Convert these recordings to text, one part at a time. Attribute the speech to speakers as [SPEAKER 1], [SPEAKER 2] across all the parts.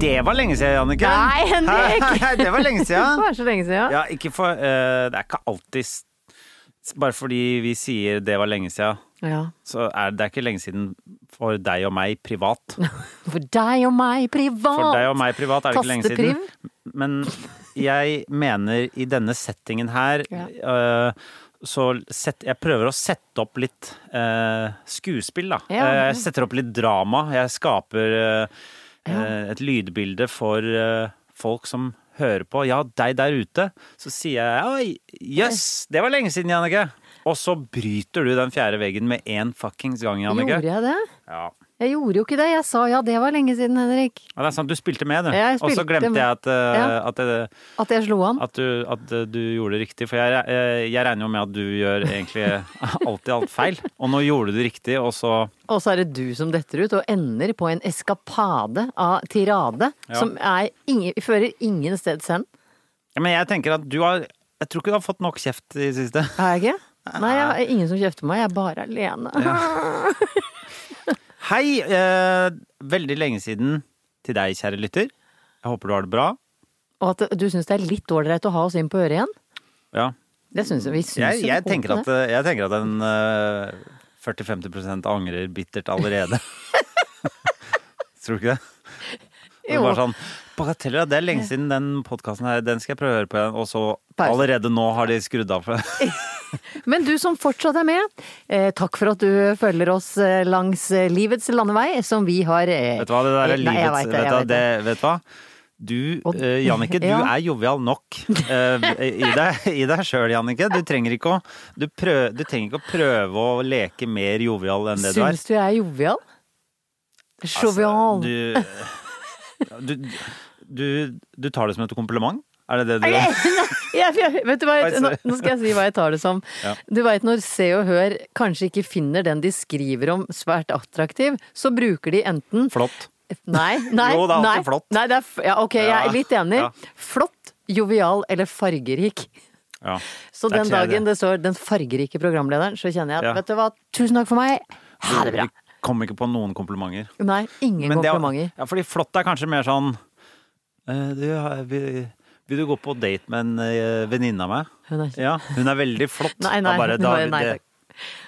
[SPEAKER 1] Det var lenge siden, Jannicke.
[SPEAKER 2] Nei, Henrik.
[SPEAKER 1] Hæ? det var lenge
[SPEAKER 2] Det
[SPEAKER 1] siden.
[SPEAKER 2] var så lenge siden.
[SPEAKER 1] Ja, ikke for, eh, det er ikke alltid s- Bare fordi vi sier det var lenge siden,
[SPEAKER 2] Ja.
[SPEAKER 1] så er det det er ikke lenge siden for deg og meg privat.
[SPEAKER 2] For deg og meg privat.
[SPEAKER 1] For deg og meg privat er det ikke lenge siden.
[SPEAKER 2] Tastepriv.
[SPEAKER 1] Men jeg mener i denne settingen her eh, så sett, jeg prøver å sette opp litt eh, skuespill, da. Eh,
[SPEAKER 2] Ja, ja.
[SPEAKER 1] jeg setter opp litt drama. Jeg skaper eh, eh, et lydbilde for eh, folk som hører på. Ja, deg der ute. Så sier jeg oi, jøss, det var lenge siden, Jannicke. Og så bryter du den fjerde veggen med én fuckings gang, Jannicke.
[SPEAKER 2] Gjorde jeg det?
[SPEAKER 1] Ja.
[SPEAKER 2] Jeg gjorde jo ikke det. Jeg sa ja, det var lenge siden, Henrik.
[SPEAKER 1] Ja, det er sant, du spilte med, du.
[SPEAKER 2] Jeg
[SPEAKER 1] Og så
[SPEAKER 2] spilte
[SPEAKER 1] glemte
[SPEAKER 2] med.
[SPEAKER 1] jeg at, eh,
[SPEAKER 2] Ja.
[SPEAKER 1] at det
[SPEAKER 2] At jeg slo han.
[SPEAKER 1] at du, at eh, du gjorde det riktig. For jeg, eh, jeg regner jo med at du gjør egentlig alltid alt feil. Og nå gjorde du det riktig, og så
[SPEAKER 2] Og så er det du som detter ut og ender på en eskapade av tirade
[SPEAKER 1] Ja.
[SPEAKER 2] som er ingen, fører ingen steds hen.
[SPEAKER 1] ja, Men jeg tenker at du har Jeg tror ikke du har fått nok kjeft i det siste.
[SPEAKER 2] Er jeg ikke? Nei, jeg er ingen som kjefter på meg. Jeg er bare alene.
[SPEAKER 1] Hei! Eh, veldig lenge siden til deg, kjære lytter. Jeg håper du har det bra.
[SPEAKER 2] Og at du syns det er litt ålreit å ha oss inn på øret igjen?
[SPEAKER 1] Ja.
[SPEAKER 2] Det syns vi. Synes
[SPEAKER 1] Jeg,
[SPEAKER 2] jo
[SPEAKER 1] jeg,
[SPEAKER 2] noe om
[SPEAKER 1] tenker, at,
[SPEAKER 2] det.
[SPEAKER 1] eh, jeg tenker at en eh, 40-50 angrer bittert allerede. tror du ikke det? Det
[SPEAKER 2] Jo.
[SPEAKER 1] var sånn Bagateller, ja, det er lenge siden den podkasten her, den skal jeg prøve å høre på igjen. Og så
[SPEAKER 2] Pause.
[SPEAKER 1] allerede nå har de skrudd av.
[SPEAKER 2] Men du som fortsatt er med, eh, takk for at du følger oss eh, langs eh, livets landevei, som vi har eh,
[SPEAKER 1] Vet du hva, det der
[SPEAKER 2] eh,
[SPEAKER 1] er
[SPEAKER 2] Nei, jeg
[SPEAKER 1] livets Vet
[SPEAKER 2] vet det, jeg
[SPEAKER 1] du hva,
[SPEAKER 2] vet
[SPEAKER 1] det,
[SPEAKER 2] det.
[SPEAKER 1] vet du hva? Du,
[SPEAKER 2] Og-
[SPEAKER 1] eh, Jannicke, du
[SPEAKER 2] Ja.
[SPEAKER 1] er jovial nok eh, i deg, i deg sjøl, Jannicke. Du trenger, ikke å, du, prøv, du trenger ikke å prøve å leke mer jovial enn det du er.
[SPEAKER 2] Syns du jeg er jovial? Jovial.
[SPEAKER 1] Altså, du, du, du, du tar det som et kompliment? Er det det du gjør?
[SPEAKER 2] Jeg- jeg- vet du hva,
[SPEAKER 1] Oi,
[SPEAKER 2] jeg- nå,
[SPEAKER 1] sorry.
[SPEAKER 2] nå skal jeg si hva jeg tar det som.
[SPEAKER 1] Ja.
[SPEAKER 2] Du veit når Se og Hør kanskje ikke finner den de skriver om svært attraktiv, så bruker de enten
[SPEAKER 1] Flott.
[SPEAKER 2] Nei, nei,
[SPEAKER 1] Jo, det er alltid
[SPEAKER 2] nei,
[SPEAKER 1] flott.
[SPEAKER 2] Nei, det er, f- ja, ok, jeg
[SPEAKER 1] Ja,
[SPEAKER 2] er litt enig.
[SPEAKER 1] ja.
[SPEAKER 2] Flott, jovial eller fargerik.
[SPEAKER 1] Ja.
[SPEAKER 2] Så
[SPEAKER 1] Der
[SPEAKER 2] den
[SPEAKER 1] ser jeg
[SPEAKER 2] dagen det står den fargerike programlederen, så kjenner jeg at
[SPEAKER 1] Ja.
[SPEAKER 2] vet du hva, tusen takk for meg, ha det bra.
[SPEAKER 1] Vi kom ikke på noen komplimenter.
[SPEAKER 2] Nei, ingen
[SPEAKER 1] Men det er-
[SPEAKER 2] komplimenter.
[SPEAKER 1] ja, fordi flott er kanskje mer sånn eh, du, har- vil, vil du gå på date med en eh, venninne av meg?
[SPEAKER 2] Hun er ikke-
[SPEAKER 1] ja, hun er veldig flott.
[SPEAKER 2] Nei,
[SPEAKER 1] Da
[SPEAKER 2] nei,
[SPEAKER 1] bare, eh,
[SPEAKER 2] det
[SPEAKER 1] da,
[SPEAKER 2] var- nei
[SPEAKER 1] det-
[SPEAKER 2] takk.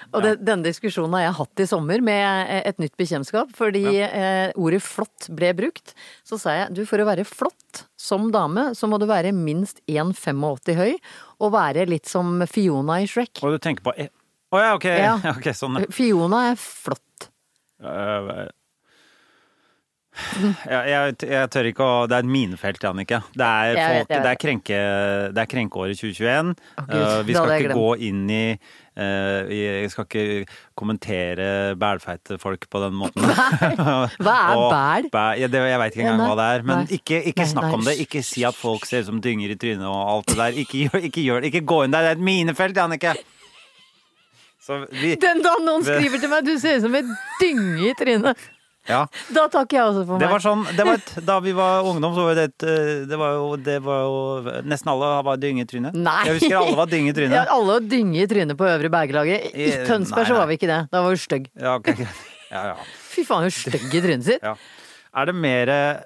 [SPEAKER 2] Og det, denne diskusjonen har jeg hatt i sommer med eh, et nytt bekjentskap, fordi eh, ordet flott ble brukt. Så sa jeg du, for å være flott som dame, så må du være minst 1,85 høy, og være litt som Fiona i Shrek.
[SPEAKER 1] Og du tenker på eh, Å ja, ok.
[SPEAKER 2] Ja.
[SPEAKER 1] ok, sånn.
[SPEAKER 2] Fiona er flott.
[SPEAKER 1] Eh, ja, jeg, jeg tør ikke å Det er et minefelt, Jannicke. Det er,
[SPEAKER 2] Jeg vet,
[SPEAKER 1] folk,
[SPEAKER 2] jeg
[SPEAKER 1] det er, krenke, det er krenkeåret 2021.
[SPEAKER 2] Gud,
[SPEAKER 1] Eh, vi
[SPEAKER 2] det
[SPEAKER 1] skal
[SPEAKER 2] hadde jeg
[SPEAKER 1] ikke gå inn i eh, Jeg skal ikke kommentere bælfeite folk på den måten.
[SPEAKER 2] Hva er
[SPEAKER 1] Og
[SPEAKER 2] bæl?
[SPEAKER 1] ja, det, jeg veit ikke
[SPEAKER 2] Ja,
[SPEAKER 1] engang
[SPEAKER 2] nei.
[SPEAKER 1] hva det er. Men
[SPEAKER 2] Nei.
[SPEAKER 1] ikke, ikke
[SPEAKER 2] Nei,
[SPEAKER 1] snakk
[SPEAKER 2] nei.
[SPEAKER 1] om det. Ikke si at folk ser ut som dynger i trynet og alt det der. Ikke gjør, ikke gjør det. Ikke gå inn der. Det er et minefelt, Jannicke! Så vi
[SPEAKER 2] Den dagen noen
[SPEAKER 1] Det-
[SPEAKER 2] skriver til meg du ser ut som en dynge i trynet,
[SPEAKER 1] Ja.
[SPEAKER 2] da takker jeg også for meg.
[SPEAKER 1] Det var sånn, det var et, Da vi var ungdom, så var det et eh, Det var jo, det var jo Nesten alle var dynge i trynet.
[SPEAKER 2] Nei.
[SPEAKER 1] sånn- Jeg husker alle var dynge i
[SPEAKER 2] Ja,
[SPEAKER 1] trynet.
[SPEAKER 2] alle dynge i trynet på Øvre Bergelaget. I
[SPEAKER 1] Eh,
[SPEAKER 2] Tønsberg
[SPEAKER 1] nei,
[SPEAKER 2] så
[SPEAKER 1] nei.
[SPEAKER 2] var vi ikke det. Da var vi stygg.
[SPEAKER 1] Ja, ok, greit. Ja, ja,
[SPEAKER 2] Fy faen, hun er stygg i trynet sitt.
[SPEAKER 1] ja. Er det mer eh,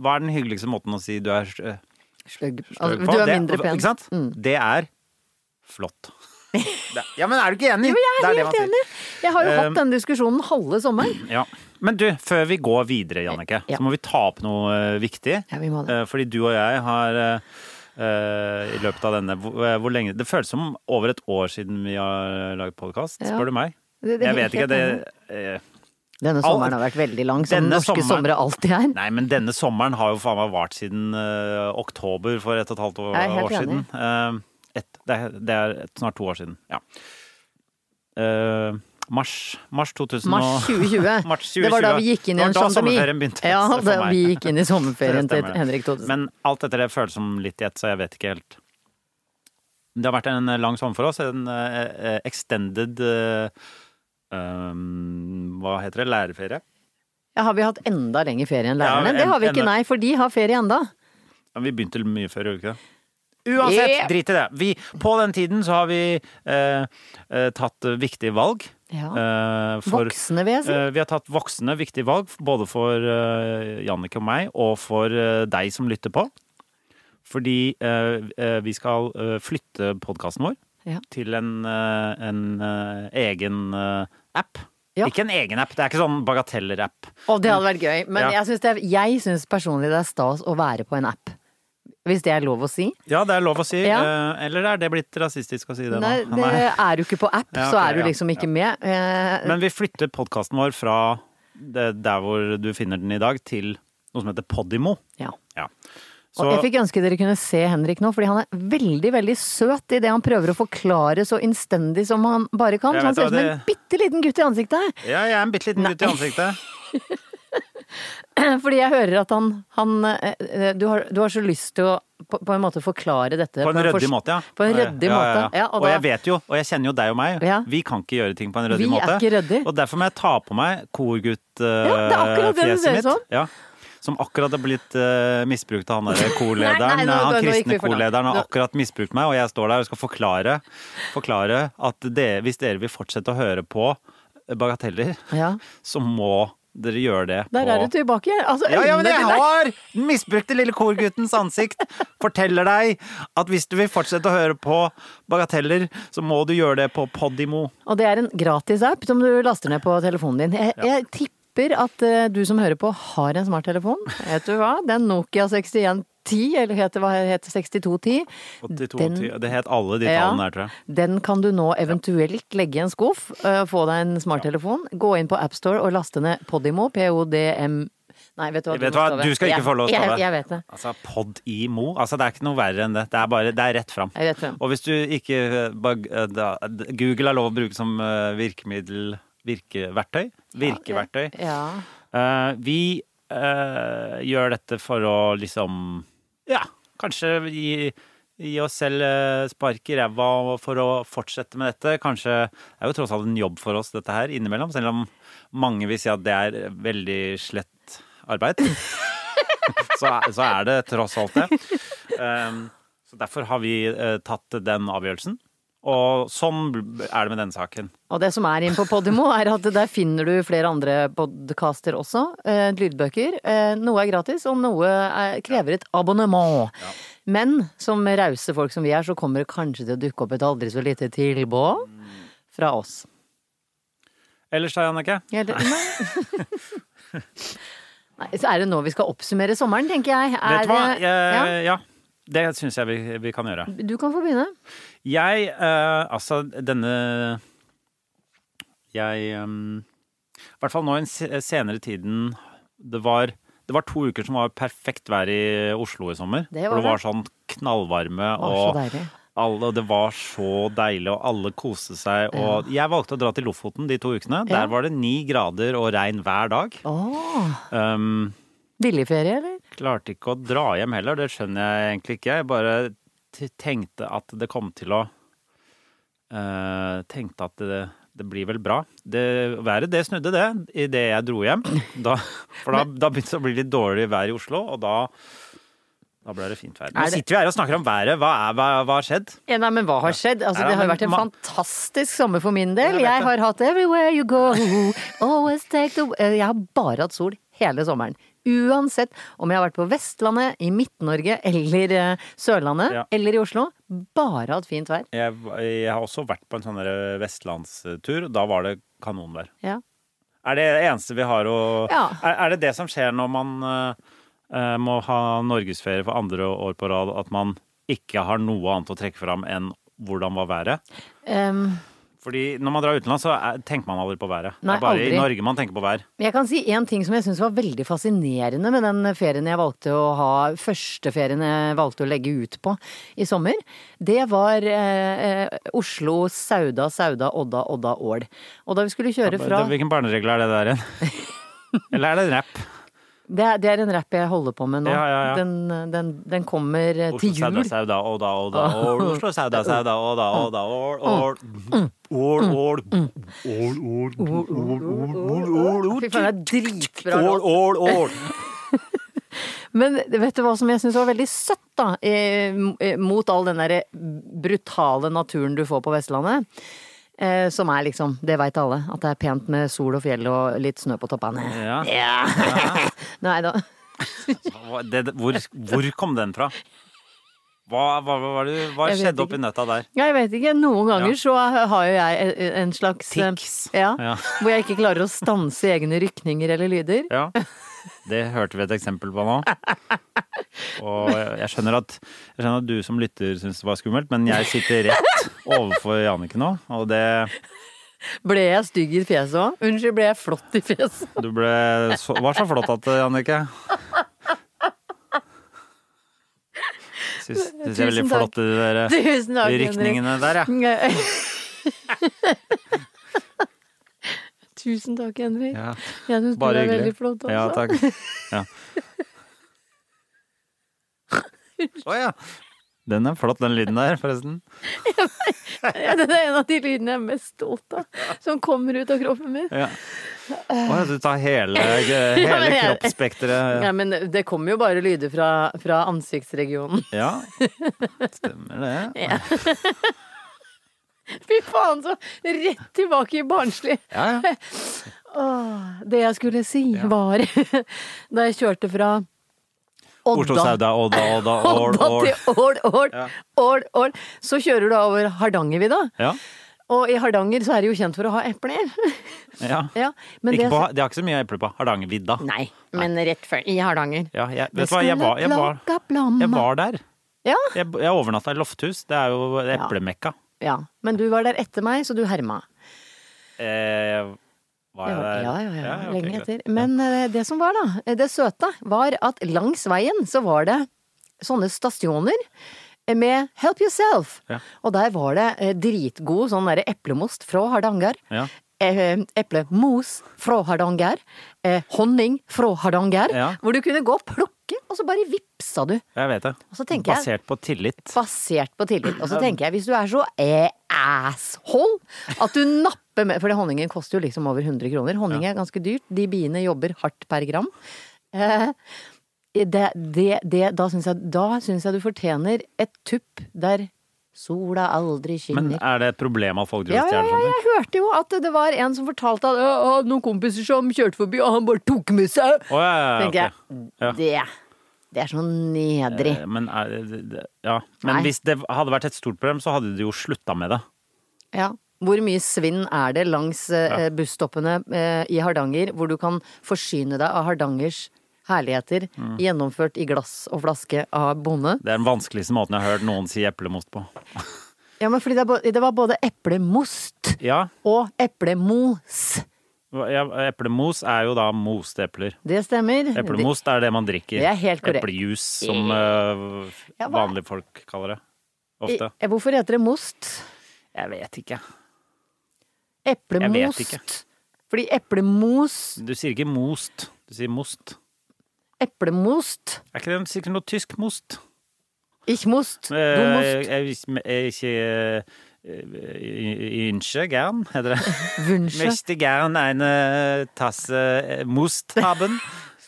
[SPEAKER 1] Hva er den hyggeligste måten å si du er eh,
[SPEAKER 2] Stygg.
[SPEAKER 1] støv
[SPEAKER 2] Altså,
[SPEAKER 1] på?
[SPEAKER 2] du er
[SPEAKER 1] Det-
[SPEAKER 2] mindre pen. Mm.
[SPEAKER 1] Ikke sant? Det er flott. Det, ja, men er du ikke enig?
[SPEAKER 2] Jo, jeg er,
[SPEAKER 1] Det det
[SPEAKER 2] helt
[SPEAKER 1] man sier.
[SPEAKER 2] enig. Jeg har jo
[SPEAKER 1] Um,
[SPEAKER 2] hatt denne diskusjonen halve sommeren.
[SPEAKER 1] Ja. Men du, før vi går videre, Jannicke,
[SPEAKER 2] Ja.
[SPEAKER 1] så må vi ta opp noe eh, viktig.
[SPEAKER 2] Ja, vi må det.
[SPEAKER 1] Eh, Fordi du og jeg har eh, eh, i løpet av denne hvor, eh, hvor lenge Det føles som over et år siden vi har laget podkast,
[SPEAKER 2] Ja.
[SPEAKER 1] spør du meg.
[SPEAKER 2] Det- det er
[SPEAKER 1] jeg vet
[SPEAKER 2] helt
[SPEAKER 1] ikke, det eh, Al-
[SPEAKER 2] Denne sommeren har vært veldig lang, som
[SPEAKER 1] Denne
[SPEAKER 2] norske
[SPEAKER 1] sommeren-
[SPEAKER 2] somre alltid er.
[SPEAKER 1] Nei, men denne sommeren har jo faen meg vart siden eh, oktober for et og et halvt år,
[SPEAKER 2] Jeg er helt
[SPEAKER 1] år siden.
[SPEAKER 2] enig.
[SPEAKER 1] Eh, et, det er, det er et, snart to år siden. Ja. Eh, mars, mars 2000
[SPEAKER 2] Mars 2020.
[SPEAKER 1] Mars 2020.
[SPEAKER 2] Det var da vi gikk inn i en
[SPEAKER 1] Det var da
[SPEAKER 2] pandemi.
[SPEAKER 1] sommerferien begynte,
[SPEAKER 2] Ja,
[SPEAKER 1] for
[SPEAKER 2] da
[SPEAKER 1] meg.
[SPEAKER 2] vi gikk inn i sommerferien
[SPEAKER 1] Det
[SPEAKER 2] til
[SPEAKER 1] stemmer.
[SPEAKER 2] Henrik Thodesen.
[SPEAKER 1] Men alt dette det føles som litt i ett, så jeg vet ikke helt. Det har vært en eh, lang sommer for oss. En eh, eh, extended eh, um, Hva heter det? Læreferie.
[SPEAKER 2] Ja, har vi hatt enda lenger ferie enn
[SPEAKER 1] Ja,
[SPEAKER 2] lærerne?
[SPEAKER 1] en-
[SPEAKER 2] det har vi ikke,
[SPEAKER 1] enda-
[SPEAKER 2] nei, for de har ferie enda.
[SPEAKER 1] Men vi begynte mye før, gjorde vi ikke det? Uansett,
[SPEAKER 2] Yeah.
[SPEAKER 1] drit i det. Vi, på den tiden så har vi eh, eh, tatt eh, viktige valg. eh, for-
[SPEAKER 2] Voksne, vil jeg si.
[SPEAKER 1] Eh, vi har tatt voksne viktige valg, både for eh, Jannicke og meg, og for eh, deg som lytter på. Fordi eh, eh, vi skal eh, flytte podkasten vår
[SPEAKER 2] Ja.
[SPEAKER 1] til en, eh, en eh, egen eh, app.
[SPEAKER 2] Ja.
[SPEAKER 1] Ikke en egen app, det er ikke sånn bagateller-app.
[SPEAKER 2] Og det hadde vært gøy. Men
[SPEAKER 1] Ja.
[SPEAKER 2] jeg syns det er- jeg synes personlig det er stas å være på en app. Hvis det er lov å si.
[SPEAKER 1] Ja, det er lov å si.
[SPEAKER 2] Ja.
[SPEAKER 1] eh, eller er det blitt rasistisk å si det nå?
[SPEAKER 2] Nei, det er du ikke på app,
[SPEAKER 1] Ja,
[SPEAKER 2] så
[SPEAKER 1] ok,
[SPEAKER 2] er du
[SPEAKER 1] ja,
[SPEAKER 2] liksom ikke med. Eh,
[SPEAKER 1] Men vi flytter podkasten vår fra det, der hvor du finner den i dag, til noe som heter Podimo.
[SPEAKER 2] ja.
[SPEAKER 1] Ja.
[SPEAKER 2] Og jeg fikk ønske dere kunne se Henrik nå, fordi han er veldig veldig søt i det han prøver å forklare så innstendig som han bare kan.
[SPEAKER 1] Jeg
[SPEAKER 2] Så han
[SPEAKER 1] vet
[SPEAKER 2] ser
[SPEAKER 1] hva
[SPEAKER 2] ut som en
[SPEAKER 1] det-
[SPEAKER 2] bitte liten gutt i ansiktet.
[SPEAKER 1] ja, jeg er en bitte liten gutt i ansiktet.
[SPEAKER 2] Fordi jeg hører at han, han eh, eh, du, har, du har så lyst til å på, på en måte forklare dette.
[SPEAKER 1] På en ryddig
[SPEAKER 2] forst-
[SPEAKER 1] måte, ja.
[SPEAKER 2] På en ryddig
[SPEAKER 1] ja, ja, ja.
[SPEAKER 2] måte. Ja,
[SPEAKER 1] og, jeg vet jo, og jeg kjenner jo deg og meg,
[SPEAKER 2] Ja.
[SPEAKER 1] vi kan ikke gjøre ting på en
[SPEAKER 2] Vi
[SPEAKER 1] ryddig
[SPEAKER 2] er
[SPEAKER 1] måte.
[SPEAKER 2] ikke ryddig.
[SPEAKER 1] Og derfor må jeg ta på meg
[SPEAKER 2] Ja, det er akkurat det du
[SPEAKER 1] korgutt-fjeset
[SPEAKER 2] ser
[SPEAKER 1] mitt.
[SPEAKER 2] sånn.
[SPEAKER 1] Ja. Som akkurat har blitt eh, misbrukt av han derre
[SPEAKER 2] Nei, nei,
[SPEAKER 1] korlederen.
[SPEAKER 2] nå-
[SPEAKER 1] Han
[SPEAKER 2] nå- nå gikk
[SPEAKER 1] kristne
[SPEAKER 2] vi for langt.
[SPEAKER 1] korlederen har
[SPEAKER 2] Nå-
[SPEAKER 1] akkurat misbrukt meg, og jeg står der og skal forklare, forklare at dere, hvis dere vil fortsette å høre på bagateller,
[SPEAKER 2] Ja.
[SPEAKER 1] så må dere gjøre det på
[SPEAKER 2] Der er du tilbake. Altså,
[SPEAKER 1] ja, ja, men
[SPEAKER 2] øynene
[SPEAKER 1] jeg
[SPEAKER 2] dine-
[SPEAKER 1] har misbrukt det lille korguttens ansikt. Forteller deg at hvis du vil fortsette å høre på bagateller, så må du gjøre det på Podimo.
[SPEAKER 2] Og det er en gratis app som du laster ned på telefonen din. Jeg, jeg tipper at eh, du som hører på har en smarttelefon. Vet du hva? Den Nokia 6110, eller heter, hva heter 6210.
[SPEAKER 1] 82,
[SPEAKER 2] Den-
[SPEAKER 1] Det het alle de
[SPEAKER 2] Ja.
[SPEAKER 1] tallene her, tror jeg.
[SPEAKER 2] Den kan du nå eventuelt legge i en skuff, eh, få deg en smarttelefon, gå inn på AppStore og laste ned Podimo, PODM Nei, vet du hva?
[SPEAKER 1] Vet
[SPEAKER 2] må
[SPEAKER 1] hva?
[SPEAKER 2] stave.
[SPEAKER 1] Du skal ikke
[SPEAKER 2] Jeg-
[SPEAKER 1] få lov å stave.
[SPEAKER 2] Jeg, jeg vet det.
[SPEAKER 1] Altså, Podimo altså, Det er ikke noe verre enn det. Det er, bare, det er rett fram.
[SPEAKER 2] Det er rett frem.
[SPEAKER 1] Og hvis du ikke eh, bag, eh, da, d- Google er lov å bruke som eh, virkemiddel Virkeverktøy. Virkeverktøy.
[SPEAKER 2] Ja.
[SPEAKER 1] Eh, vi eh, gjør dette for å liksom Ja, kanskje gi, gi oss selv eh, spark i ræva for å fortsette med dette. Kanskje Det er jo tross alt en jobb for oss, dette her, innimellom. Selv om mange vil si at det er veldig slett arbeid. så, er- så er det tross alt det. Um, så derfor har vi eh, tatt den avgjørelsen. Og sånn bl- er det med denne saken.
[SPEAKER 2] Og det som er inne på Podimo, er at der finner du flere andre podcaster også. Eh, lydbøker. Eh, noe er gratis, og noe er, krever et abonnement. Men som rause folk som vi er, så kommer det kanskje til å dukke opp et aldri så lite tilbud fra oss.
[SPEAKER 1] Ellers da, Jannicke?
[SPEAKER 2] Eller, nei. nei, så er det nå vi skal oppsummere sommeren, tenker jeg. Er,
[SPEAKER 1] Vet du hva?
[SPEAKER 2] det-
[SPEAKER 1] ja.
[SPEAKER 2] ja,
[SPEAKER 1] ja. Det syns jeg vi, vi kan gjøre.
[SPEAKER 2] du kan få begynne.
[SPEAKER 1] Jeg eh, Altså, denne Jeg em, I hvert fall nå i den se- senere tiden Det var det var to uker som var perfekt vær i Oslo i sommer.
[SPEAKER 2] Det var
[SPEAKER 1] hvor det var
[SPEAKER 2] det.
[SPEAKER 1] sånn knallvarme,
[SPEAKER 2] Å, så
[SPEAKER 1] og,
[SPEAKER 2] deilig.
[SPEAKER 1] alle, og det var så deilig, og alle koste seg. Og jeg valgte å dra til Lofoten de to ukene.
[SPEAKER 2] Ja.
[SPEAKER 1] Der var det ni grader og regn hver dag.
[SPEAKER 2] Åh,
[SPEAKER 1] Um,
[SPEAKER 2] Billigferie, eller?
[SPEAKER 1] klarte ikke å dra hjem heller, det skjønner jeg egentlig ikke. Jeg bare t- tenkte at det kom til å eh, Tenkte at det, det blir vel bra. Det, været det snudde, det, idet jeg dro hjem. Da, for da, da begynte det å bli litt dårlig vær i Oslo, og da da ble det fint vær. Nå
[SPEAKER 2] Er det-
[SPEAKER 1] sitter vi her og snakker om været. Hva, er, hva, hva har skjedd?
[SPEAKER 2] Ja, nei, men hva har skjedd? Altså,
[SPEAKER 1] Nei,
[SPEAKER 2] det har jo
[SPEAKER 1] men
[SPEAKER 2] vært en
[SPEAKER 1] ma-
[SPEAKER 2] fantastisk sommer for min del.
[SPEAKER 1] Jeg vet
[SPEAKER 2] Jeg,
[SPEAKER 1] det.
[SPEAKER 2] har hatt 'Everywhere you go', always take the Eh, Jeg har bare hatt sol hele sommeren. Uansett om jeg har vært på Vestlandet, i Midt-Norge eller eh, Sørlandet
[SPEAKER 1] Ja.
[SPEAKER 2] eller i Oslo. Bare hatt fint vær.
[SPEAKER 1] Jeg, jeg har også vært på en sånn der vestlandstur. og Da var det kanonvær.
[SPEAKER 2] Ja.
[SPEAKER 1] Er det det eneste vi har å
[SPEAKER 2] Ja.
[SPEAKER 1] er, er det det som skjer når man eh, eh, må ha norgesferie for andre år på rad, at man ikke har noe annet å trekke fram enn hvordan var været?
[SPEAKER 2] Em,
[SPEAKER 1] Fordi når man drar utenlands, så er, tenker man aldri på været.
[SPEAKER 2] Nei,
[SPEAKER 1] det er bare
[SPEAKER 2] aldri.
[SPEAKER 1] i Norge man tenker på vær.
[SPEAKER 2] Jeg kan si én ting som jeg syns var veldig fascinerende med den ferien jeg valgte å ha, første ferien jeg valgte å legge ut på i sommer. Det var eh, eh, Oslo Sauda, Sauda, Odda, Odda, Ål. Og da vi skulle kjøre fra
[SPEAKER 1] Hvilken barneregel er det der igjen? Eller er det en rapp?
[SPEAKER 2] Det er, det er en rapp jeg holder på med nå.
[SPEAKER 1] Ja, ja, ja.
[SPEAKER 2] Den, den, den kommer eh,
[SPEAKER 1] Oslo
[SPEAKER 2] til jul.
[SPEAKER 1] Sauda, Sauda, Odda, Odda, Ål. Oslo Sauda, Sauda, Odda, Odda, Ål, Ål. Ål, Ål. Ål, Ål, Ål, Ål, Ål, Ål, Ål.
[SPEAKER 2] Fy faen, det er dritbra.
[SPEAKER 1] Ål,
[SPEAKER 2] låt.
[SPEAKER 1] Ål, Ål.
[SPEAKER 2] Men vet du hva som jeg syns var veldig søtt, da? eh, m- eh, Mot all den derre brutale naturen du får på Vestlandet. Eh, som er liksom, det veit alle, at det er pent med sol og fjell og litt snø på toppene.
[SPEAKER 1] Ja.
[SPEAKER 2] Nei da.
[SPEAKER 1] Hva- det- det- Hvor, hvor kom den fra? Hva, hva, hva, var det- hva
[SPEAKER 2] Jeg vet
[SPEAKER 1] skjedde oppi
[SPEAKER 2] ikke.
[SPEAKER 1] nøtta der?
[SPEAKER 2] Jeg vet ikke. Noen ganger
[SPEAKER 1] Ja.
[SPEAKER 2] så har jo jeg en- en slags eh,
[SPEAKER 1] Tics.
[SPEAKER 2] Ja,
[SPEAKER 1] Ja.
[SPEAKER 2] Hvor jeg ikke klarer å stanse egne rykninger eller lyder.
[SPEAKER 1] Ja, det hørte vi et eksempel på nå. Og jeg skjønner at, jeg skjønner at du som lytter syns det var skummelt, men jeg sitter rett overfor Jannicke nå, og det
[SPEAKER 2] Ble jeg stygg i fjeset òg? Unnskyld, ble jeg flott i fjeset?
[SPEAKER 1] Du ble så, var så flott at Jannicke Syns syns jeg er veldig
[SPEAKER 2] Tusen takk.
[SPEAKER 1] flott i de der
[SPEAKER 2] Tusen takk, Henrik.
[SPEAKER 1] rykningene der, jeg.
[SPEAKER 2] Tusen takk, Henrik.
[SPEAKER 1] Ja.
[SPEAKER 2] Jeg syns du
[SPEAKER 1] Bare
[SPEAKER 2] er
[SPEAKER 1] hyggelig.
[SPEAKER 2] veldig flott altså. også.
[SPEAKER 1] Ja, takk. Ja. Å ja. Den er flott, den lyden der, forresten.
[SPEAKER 2] Ja, det er en av de lydene jeg er mest stolt av, som kommer ut av kroppen min.
[SPEAKER 1] Ja. Å ja, du tar hele,
[SPEAKER 2] Ja,
[SPEAKER 1] hele
[SPEAKER 2] men jeg-
[SPEAKER 1] kroppsspekteret.
[SPEAKER 2] Ja, men det kommer jo bare lyder fra, fra ansiktsregionen.
[SPEAKER 1] Ja, stemmer det.
[SPEAKER 2] Fy faen, så rett tilbake i barnslig.
[SPEAKER 1] Ja, ja.
[SPEAKER 2] Åh, det jeg skulle si, var da jeg kjørte fra
[SPEAKER 1] Oslo
[SPEAKER 2] Odda
[SPEAKER 1] Sauda, Odda, Odda, Ål,
[SPEAKER 2] Odda
[SPEAKER 1] Ål.
[SPEAKER 2] til Ål, Ål, Ål, Ål. Så kjører du over Hardangervidda.
[SPEAKER 1] Ja.
[SPEAKER 2] Og i Hardanger så er de jo kjent for å ha epler.
[SPEAKER 1] ja.
[SPEAKER 2] Ja, men
[SPEAKER 1] Ikke
[SPEAKER 2] det
[SPEAKER 1] på, de har ikke så mye eple på Hardangervidda.
[SPEAKER 2] Nei, men rett før. I Hardanger.
[SPEAKER 1] Ja, jeg, vet du hva, jeg var, jeg, var, jeg var der.
[SPEAKER 2] Ja.
[SPEAKER 1] Jeg, jeg overnatta i lofthus. Det er jo eplemekka.
[SPEAKER 2] ja. Men du var der etter meg, så du herma.
[SPEAKER 1] Eh, var
[SPEAKER 2] Det
[SPEAKER 1] jeg
[SPEAKER 2] var,
[SPEAKER 1] der?
[SPEAKER 2] ja, ja, ja,
[SPEAKER 1] ok,
[SPEAKER 2] lenge
[SPEAKER 1] greit.
[SPEAKER 2] etter. Men eh, det som var, da, eh, det søte, var at langs veien så var det sånne stasjoner med Help Yourself.
[SPEAKER 1] Ja.
[SPEAKER 2] Og der var det eh, dritgod sånn derre eplemost fra Hardanger.
[SPEAKER 1] Ja.
[SPEAKER 2] Eh, eplemos fra Hardanger. Eh, honning fra Hardanger.
[SPEAKER 1] Ja.
[SPEAKER 2] Hvor du kunne gå og plukke, og så bare vipsa du.
[SPEAKER 1] Jeg vet det.
[SPEAKER 2] Og så tenker jeg-
[SPEAKER 1] Basert på tillit.
[SPEAKER 2] Basert på tillit. Og så tenker jeg, hvis du er så eh, asshole at du napper med For honningen koster jo liksom over 100 kroner. Honning er ganske dyrt. De biene jobber hardt per gram. Eh, det, det, det, da syns jeg, da synes jeg du fortjener et tupp der sola aldri
[SPEAKER 1] Men
[SPEAKER 2] skinner.
[SPEAKER 1] er det et problem at folk driver
[SPEAKER 2] Ja,
[SPEAKER 1] og
[SPEAKER 2] ja,
[SPEAKER 1] stjeler
[SPEAKER 2] ja,
[SPEAKER 1] sånne ting?
[SPEAKER 2] jeg hørte jo at det var en som fortalte at «Å, å, noen kompiser som kjørte forbi, og han bare tok med seg.
[SPEAKER 1] Å, ja, ja,
[SPEAKER 2] Tenker
[SPEAKER 1] ja, ok. Ja.
[SPEAKER 2] jeg, det, det er så nedrig.
[SPEAKER 1] Eh, Men, er, det- det- ja. Men
[SPEAKER 2] Nei.
[SPEAKER 1] hvis det hadde vært et stort problem, så hadde de jo slutta med det.
[SPEAKER 2] Ja. Hvor mye svinn er det langs eh, busstoppene eh, i Hardanger, hvor du kan forsyne deg av Hardangers herligheter, gjennomført i glass og flaske av bonde?
[SPEAKER 1] Det er den vanskeligste måten jeg har hørt noen si eplemost på.
[SPEAKER 2] Ja, men fordi det, er bo- det var både eplemost
[SPEAKER 1] Ja,
[SPEAKER 2] og eplemos.
[SPEAKER 1] ja, eplemos er jo da moste epler.
[SPEAKER 2] Det stemmer.
[SPEAKER 1] Eplemost er det man drikker.
[SPEAKER 2] Det er helt korrekt.
[SPEAKER 1] Eplejus, som øh,
[SPEAKER 2] Ja, hva-
[SPEAKER 1] vanlige folk kaller det.
[SPEAKER 2] Det-
[SPEAKER 1] Ofte.
[SPEAKER 2] I- eh, Hvorfor heter det most?
[SPEAKER 1] Jeg vet ikke.
[SPEAKER 2] Eplemost.
[SPEAKER 1] Jeg vet ikke.
[SPEAKER 2] Fordi eplemos
[SPEAKER 1] Du sier ikke most, du sier most.
[SPEAKER 2] Eplemost.
[SPEAKER 1] Er ikke det sikkert noe tysk most?
[SPEAKER 2] Ikke most. Du
[SPEAKER 1] Eh,
[SPEAKER 2] most.
[SPEAKER 1] Jeg er ikke eh, Ynsje gern, heter det.
[SPEAKER 2] eh, Wunsche.
[SPEAKER 1] Möchte gern eine Tasse eh, Most haben.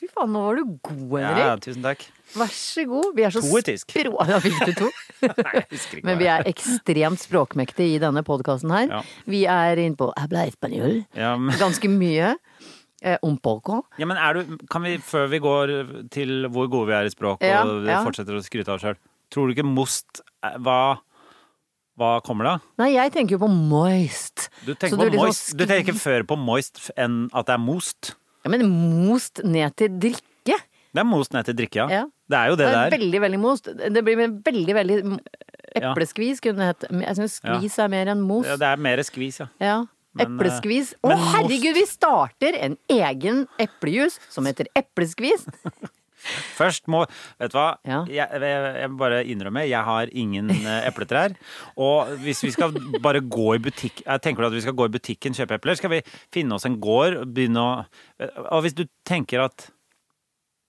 [SPEAKER 2] Fy faen, nå var du god, Henrik.
[SPEAKER 1] Ja, tusen takk.
[SPEAKER 2] Vær så god. Vi er så
[SPEAKER 1] To i tysk.
[SPEAKER 2] språ... Ja, fikk du to?
[SPEAKER 1] Nei, jeg husker ikke
[SPEAKER 2] Men vi
[SPEAKER 1] hva
[SPEAKER 2] er ekstremt språkmektige i denne podkasten her.
[SPEAKER 1] Ja.
[SPEAKER 2] Vi er inne på habla español
[SPEAKER 1] det- ja, men,
[SPEAKER 2] ganske mye. Eh, Un poco.
[SPEAKER 1] ja, men er du Kan vi, før vi går til hvor gode vi er i språk,
[SPEAKER 2] Ja,
[SPEAKER 1] og
[SPEAKER 2] ja.
[SPEAKER 1] fortsetter å skryte av oss sjøl, tror du ikke most eh, Hva, hva kommer da?
[SPEAKER 2] Nei, jeg tenker jo på moist.
[SPEAKER 1] Du
[SPEAKER 2] Så
[SPEAKER 1] tenker,
[SPEAKER 2] du
[SPEAKER 1] på
[SPEAKER 2] liksom
[SPEAKER 1] moist. du tenker før på moist f- enn at det er most.
[SPEAKER 2] Ja, men most ned til drikke.
[SPEAKER 1] Det er most ned til drikke, ja.
[SPEAKER 2] Ja.
[SPEAKER 1] Det er jo det
[SPEAKER 2] Det
[SPEAKER 1] det
[SPEAKER 2] er
[SPEAKER 1] er.
[SPEAKER 2] veldig, veldig most. Det blir veldig, veldig
[SPEAKER 1] Ja.
[SPEAKER 2] Epleskvis kunne det hett. Men Jeg syns skvis er mer enn mos.
[SPEAKER 1] Ja, det er mer skvis, ja.
[SPEAKER 2] Ja.
[SPEAKER 1] Men,
[SPEAKER 2] Epleskvis.
[SPEAKER 1] eh,
[SPEAKER 2] Å,
[SPEAKER 1] men mos-
[SPEAKER 2] herregud, vi starter en egen eplejus som heter epleskvis!
[SPEAKER 1] Først må Vet du hva?
[SPEAKER 2] Ja.
[SPEAKER 1] Jeg, jeg, jeg må bare innrømme, jeg har ingen eh, epletrær. Og hvis vi skal bare gå i butikk jeg Tenker du at vi skal gå i butikken kjøpe epler? Skal vi finne oss en gård og begynne å eh, Og hvis du tenker at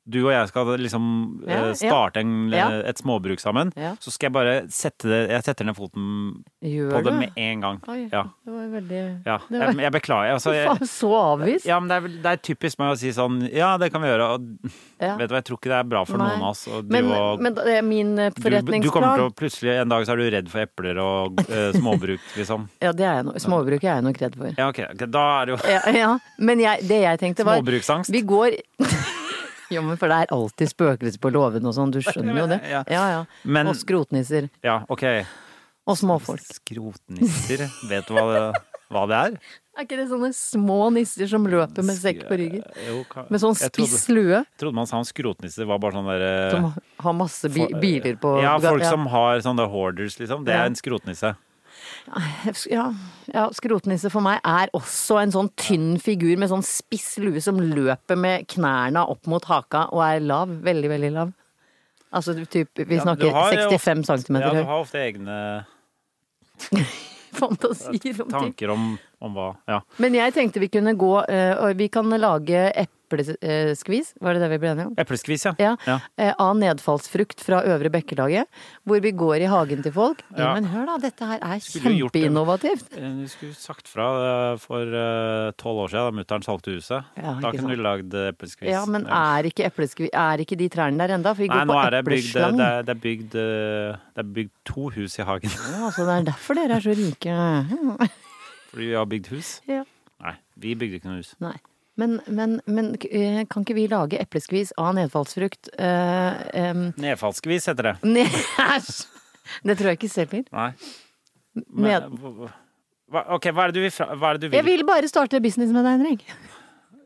[SPEAKER 1] du og jeg skal liksom eh,
[SPEAKER 2] Ja, ja.
[SPEAKER 1] starte en,
[SPEAKER 2] Ja.
[SPEAKER 1] et småbruk sammen.
[SPEAKER 2] Ja.
[SPEAKER 1] Så skal jeg bare sette det Jeg setter ned foten
[SPEAKER 2] Gjør
[SPEAKER 1] på det
[SPEAKER 2] du?
[SPEAKER 1] med en gang.
[SPEAKER 2] Oi,
[SPEAKER 1] Ja.
[SPEAKER 2] det var veldig
[SPEAKER 1] ja.
[SPEAKER 2] det
[SPEAKER 1] Jeg,
[SPEAKER 2] var...
[SPEAKER 1] jeg beklager. Altså, jeg,
[SPEAKER 2] Faen, så avvist!
[SPEAKER 1] ja, men det er, vel- det er typisk meg å si sånn Ja, det kan vi gjøre. Og
[SPEAKER 2] Ja.
[SPEAKER 1] vet du hva, jeg tror ikke det er bra for
[SPEAKER 2] Nei.
[SPEAKER 1] noen av oss. å
[SPEAKER 2] Men,
[SPEAKER 1] drive og-
[SPEAKER 2] men da- det er min eh,
[SPEAKER 1] du, du kommer til
[SPEAKER 2] forretningsplan
[SPEAKER 1] å plutselig En dag så er du redd for epler og eh, småbruk, liksom.
[SPEAKER 2] Ja, det er jeg no... Småbruk er jeg nok redd for.
[SPEAKER 1] Ja, ok. ok, Da er det jo
[SPEAKER 2] Ja, ja. Men jeg, det jeg tenkte var
[SPEAKER 1] Småbruksangst.
[SPEAKER 2] Vi går Jo, men for det er alltid spøkelser på låven og sånn, du skjønner jo det.
[SPEAKER 1] Ja.
[SPEAKER 2] Ja, ja.
[SPEAKER 1] Men-
[SPEAKER 2] Og skrotnisser.
[SPEAKER 1] Ja, OK.
[SPEAKER 2] Og småfolk.
[SPEAKER 1] Skrotnisser. Vet du hva det, hva det er?
[SPEAKER 2] Er ikke det sånne små nisser som løper med sekk på ryggen?
[SPEAKER 1] Jo, ka-
[SPEAKER 2] Med sånn
[SPEAKER 1] jeg
[SPEAKER 2] spiss
[SPEAKER 1] Trodde,
[SPEAKER 2] lue?
[SPEAKER 1] trodde man sa en skrotnisse var bare sånn derre
[SPEAKER 2] Som har masse bi biler på
[SPEAKER 1] Ja, folk
[SPEAKER 2] ja.
[SPEAKER 1] som har sånne hoarders, liksom. Det
[SPEAKER 2] Ja.
[SPEAKER 1] er en skrotnisse.
[SPEAKER 2] ja, ja, skrotnisse for meg er også en sånn tynn figur med sånn spiss lue som løper med knærne opp mot haka og er lav. Veldig, veldig lav. Altså du- typ, vi
[SPEAKER 1] Ja, du
[SPEAKER 2] snakker
[SPEAKER 1] har jo-
[SPEAKER 2] 65 cm
[SPEAKER 1] Ja, du
[SPEAKER 2] høy.
[SPEAKER 1] har ofte egne
[SPEAKER 2] Fantasier om ting.
[SPEAKER 1] tanker om, om hva Ja.
[SPEAKER 2] Men jeg tenkte vi kunne gå eh, og Vi kan lage epleskvis, var det det vi ble enige om?
[SPEAKER 1] Epleskvis, ja.
[SPEAKER 2] Ja.
[SPEAKER 1] Ja.
[SPEAKER 2] eh, Av nedfallsfrukt fra Øvre Bekkelaget. Hvor vi går i hagen til folk. Ja,
[SPEAKER 1] Ja.
[SPEAKER 2] men hør da, dette her er
[SPEAKER 1] Skulle jo gjort det.
[SPEAKER 2] kjempeinnovativt.
[SPEAKER 1] Eh, Du skulle sagt fra eh, for eh, tolv år siden, da mutter'n solgte huset.
[SPEAKER 2] Ja,
[SPEAKER 1] da kunne
[SPEAKER 2] ikke sant.
[SPEAKER 1] vi lagd eh, epleskvis.
[SPEAKER 2] Ja, men
[SPEAKER 1] Ja.
[SPEAKER 2] er ikke, epleskvi, er ikke de trærne der enda? For vi
[SPEAKER 1] Nei,
[SPEAKER 2] går
[SPEAKER 1] nå
[SPEAKER 2] på
[SPEAKER 1] er det bygd,
[SPEAKER 2] epleslang.
[SPEAKER 1] det, er, det, er bygd, eh, det er bygd to hus i hagen
[SPEAKER 2] Ja, altså, det er derfor dere er så rike.
[SPEAKER 1] fordi vi har bygd hus.
[SPEAKER 2] Ja.
[SPEAKER 1] Nei, vi bygde ikke noe hus.
[SPEAKER 2] Nei. Men, men, men k- eh, kan ikke vi lage epleskvis av nedfallsfrukt? Eh, em,
[SPEAKER 1] Nedfallskvis heter det.
[SPEAKER 2] ne- Æsj! det tror jeg ikke selger.
[SPEAKER 1] Nei.
[SPEAKER 2] Ned-
[SPEAKER 1] Men, eh, hva- hva, ok, hva er det du vil fra? Hva er det du
[SPEAKER 2] Jeg
[SPEAKER 1] vil?
[SPEAKER 2] vil bare starte business med deg, Henrik.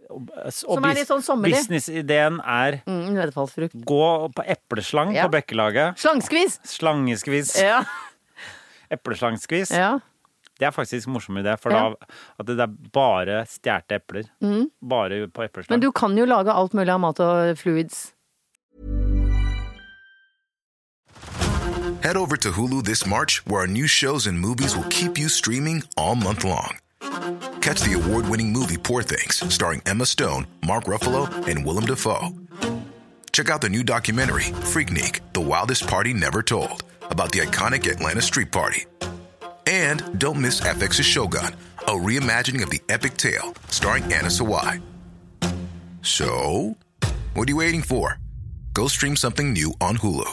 [SPEAKER 1] Og
[SPEAKER 2] Som er litt sånn sommerlig.
[SPEAKER 1] Businessideen er
[SPEAKER 2] Mm, nedfallsfrukt.
[SPEAKER 1] gå på epleslang
[SPEAKER 2] Ja.
[SPEAKER 1] på Bekkelaget.
[SPEAKER 2] Slangskvis!
[SPEAKER 1] Slangeskvis.
[SPEAKER 2] Ja.
[SPEAKER 1] Epleslanskvis.
[SPEAKER 2] ja.
[SPEAKER 1] Det er faktisk en morsom idé, for
[SPEAKER 2] Ja.
[SPEAKER 1] da at det er bare stjålne epler. Bare på epleslang.
[SPEAKER 2] Men du kan jo lage alt mulig av mat og fluids.
[SPEAKER 3] Head over to Hulu this March, where our new shows and movies will keep you streaming all month long. Catch the award winning movie Poor Things, starring Emma Stone, Mark Ruffalo, and Willem Dafoe. Check out the new documentary, Freaknik The Wildest Party Never Told, about the iconic Atlanta Street Party. And don't miss FX's Shogun, a reimagining of the epic tale, starring Anna Sawai. So, what are you waiting for? Go stream something new on Hulu.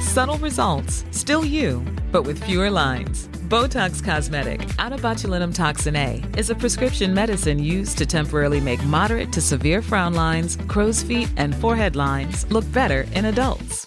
[SPEAKER 4] Subtle results, still you, but with fewer lines. Botox Cosmetic, out of botulinum toxin A, is a prescription medicine used to temporarily make moderate to severe frown lines, crow's feet, and forehead lines look better in adults.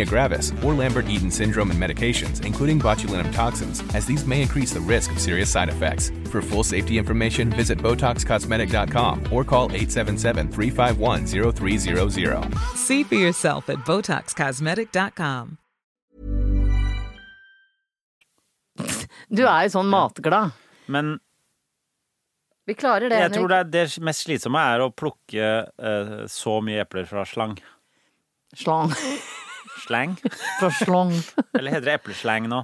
[SPEAKER 5] gravis, or Lambert Eaton syndrome, and medications, including botulinum toxins, as these may increase the risk of serious side effects. For full safety information, visit BotoxCosmetic.com or call 877 351 0300.
[SPEAKER 4] See for yourself at BotoxCosmetic.com.
[SPEAKER 2] Du er jo sånn matglad.
[SPEAKER 1] Men
[SPEAKER 2] Vi klarer det,
[SPEAKER 1] jeg
[SPEAKER 2] Henrik.
[SPEAKER 1] tror det, er det mest slitsomme er å plukke eh, så mye epler fra slang.
[SPEAKER 2] Slang.
[SPEAKER 1] Slang?
[SPEAKER 2] Fra slang.
[SPEAKER 1] Eller heter det epleslang nå?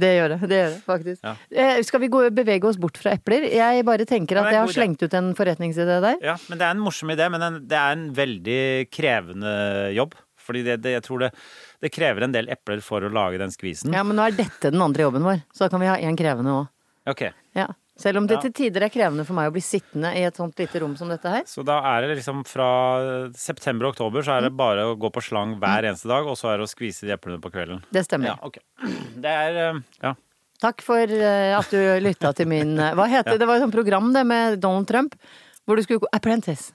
[SPEAKER 2] Det gjør det, det gjør det faktisk.
[SPEAKER 1] Ja.
[SPEAKER 2] Eh, skal vi gå, bevege oss bort fra epler? Jeg bare
[SPEAKER 1] Ja,
[SPEAKER 2] tenker at
[SPEAKER 1] det er
[SPEAKER 2] jeg
[SPEAKER 1] god
[SPEAKER 2] har
[SPEAKER 1] idé.
[SPEAKER 2] slengt ut en forretningsidé der.
[SPEAKER 1] Ja, men det er en morsom idé, men den, det er en veldig krevende jobb. Fordi det, det, jeg tror det, det krever en del epler for å lage den skvisen.
[SPEAKER 2] Ja, men nå er dette den andre jobben vår, så da kan vi ha en krevende òg.
[SPEAKER 1] Ok,
[SPEAKER 2] Ja. Selv om det til tider er krevende for meg å bli sittende i et sånt lite rom som dette her.
[SPEAKER 1] Så da er det liksom fra september og oktober så er det bare å gå på slang hver eneste dag, og så er det å skvise de eplene på kvelden.
[SPEAKER 2] Det stemmer.
[SPEAKER 1] Ja, ok. Det er eh, Ja.
[SPEAKER 2] Takk for eh, at du lytta til min eh, Hva heter det? Det var et sånt program det med Donald Trump, hvor du skulle gå Apprentice.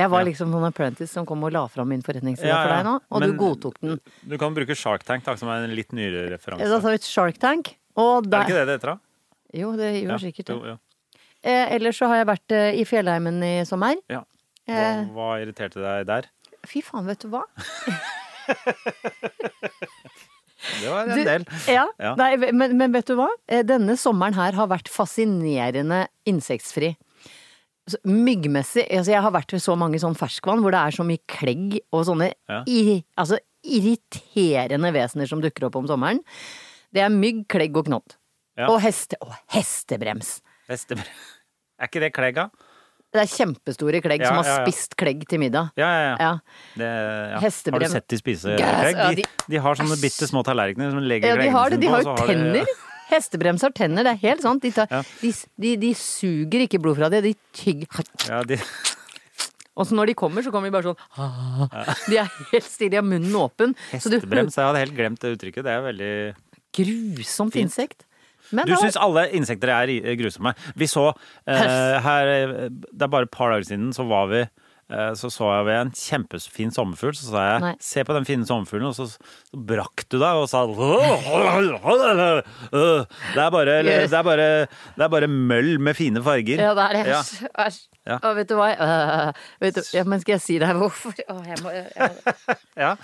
[SPEAKER 2] Jeg var
[SPEAKER 1] Ja.
[SPEAKER 2] liksom noen apprentice som kom og la fram min forretningsidé
[SPEAKER 1] Ja, ja.
[SPEAKER 2] for deg nå, og
[SPEAKER 1] Men-
[SPEAKER 2] du godtok den.
[SPEAKER 1] Du kan bruke Shark Tank, da, som er en litt nyere referanse. Er
[SPEAKER 2] Da tar vi et Shark Tank, og
[SPEAKER 1] altså. det
[SPEAKER 2] der
[SPEAKER 1] ikke det det heter, da?
[SPEAKER 2] Jo, det gjorde sikkert det.
[SPEAKER 1] Jo, ja.
[SPEAKER 2] Eh, ellers så har jeg vært eh, i fjellheimen i sommer.
[SPEAKER 1] Ja. Hva,
[SPEAKER 2] Eh.
[SPEAKER 1] hva irriterte deg der?
[SPEAKER 2] Fy faen, vet du hva?
[SPEAKER 1] Det var en
[SPEAKER 2] Du-
[SPEAKER 1] del.
[SPEAKER 2] Ja,
[SPEAKER 1] Ja.
[SPEAKER 2] Nei, men, men vet du hva? Eh, Denne sommeren her har vært fascinerende insektfri. Så, Myggmessig. Altså, jeg har vært ved så mange sånn ferskvann hvor det er så mye klegg og sånne
[SPEAKER 1] Ja.
[SPEAKER 2] irri, altså, irriterende vesener som dukker opp om sommeren. Det er mygg, klegg og knodd.
[SPEAKER 1] Ja.
[SPEAKER 2] Og heste, og hestebrems.
[SPEAKER 1] Beste- Er ikke det klegga?
[SPEAKER 2] Det er kjempestore klegg
[SPEAKER 1] Ja,
[SPEAKER 2] som har
[SPEAKER 1] ja, ja.
[SPEAKER 2] spist klegg til middag.
[SPEAKER 1] Ja, ja, ja.
[SPEAKER 2] Ja.
[SPEAKER 1] Det, ja.
[SPEAKER 2] Hestebrem.
[SPEAKER 1] Har du sett de spise
[SPEAKER 2] Yes,
[SPEAKER 1] klegg?
[SPEAKER 2] ja,
[SPEAKER 1] De,
[SPEAKER 2] de-
[SPEAKER 1] de har sånne bitte små tallerkener som legger
[SPEAKER 2] Ja, de har det.
[SPEAKER 1] sin
[SPEAKER 2] De
[SPEAKER 1] på,
[SPEAKER 2] har
[SPEAKER 1] og
[SPEAKER 2] jo
[SPEAKER 1] så de-
[SPEAKER 2] tenner. Hestebrems har tenner, det er helt sant. De, tar,
[SPEAKER 1] Ja.
[SPEAKER 2] de, de, de suger ikke blod fra det, de tygger
[SPEAKER 1] Ja, de,
[SPEAKER 2] Og så når de kommer, så kommer de bare sånn De er helt stille, de har munnen åpen. Så du hører
[SPEAKER 1] hestebrems. Jeg hadde helt glemt det uttrykket. Det er veldig
[SPEAKER 2] grusomt insekt. Men
[SPEAKER 1] Du
[SPEAKER 2] det var-
[SPEAKER 1] syns alle insekter er i- grusomme. Vi så eh, her eh, Det er bare et par dager siden så var vi eh, så så jeg ved en kjempefin sommerfugl, så sa jeg
[SPEAKER 2] Nei.
[SPEAKER 1] 'se på den fine sommerfuglen', og så, så brakk du deg og sa Det er bare,
[SPEAKER 2] Yes.
[SPEAKER 1] det er bare, det er bare møll med fine farger.
[SPEAKER 2] ja, det er det.
[SPEAKER 1] Ja.
[SPEAKER 2] Æsj. Æsj.
[SPEAKER 1] Ja.
[SPEAKER 2] Å, vet du hva? Øh, vet du, ja, men skal jeg si deg hvorfor? Å, jeg må, jeg, jeg-
[SPEAKER 1] Ja.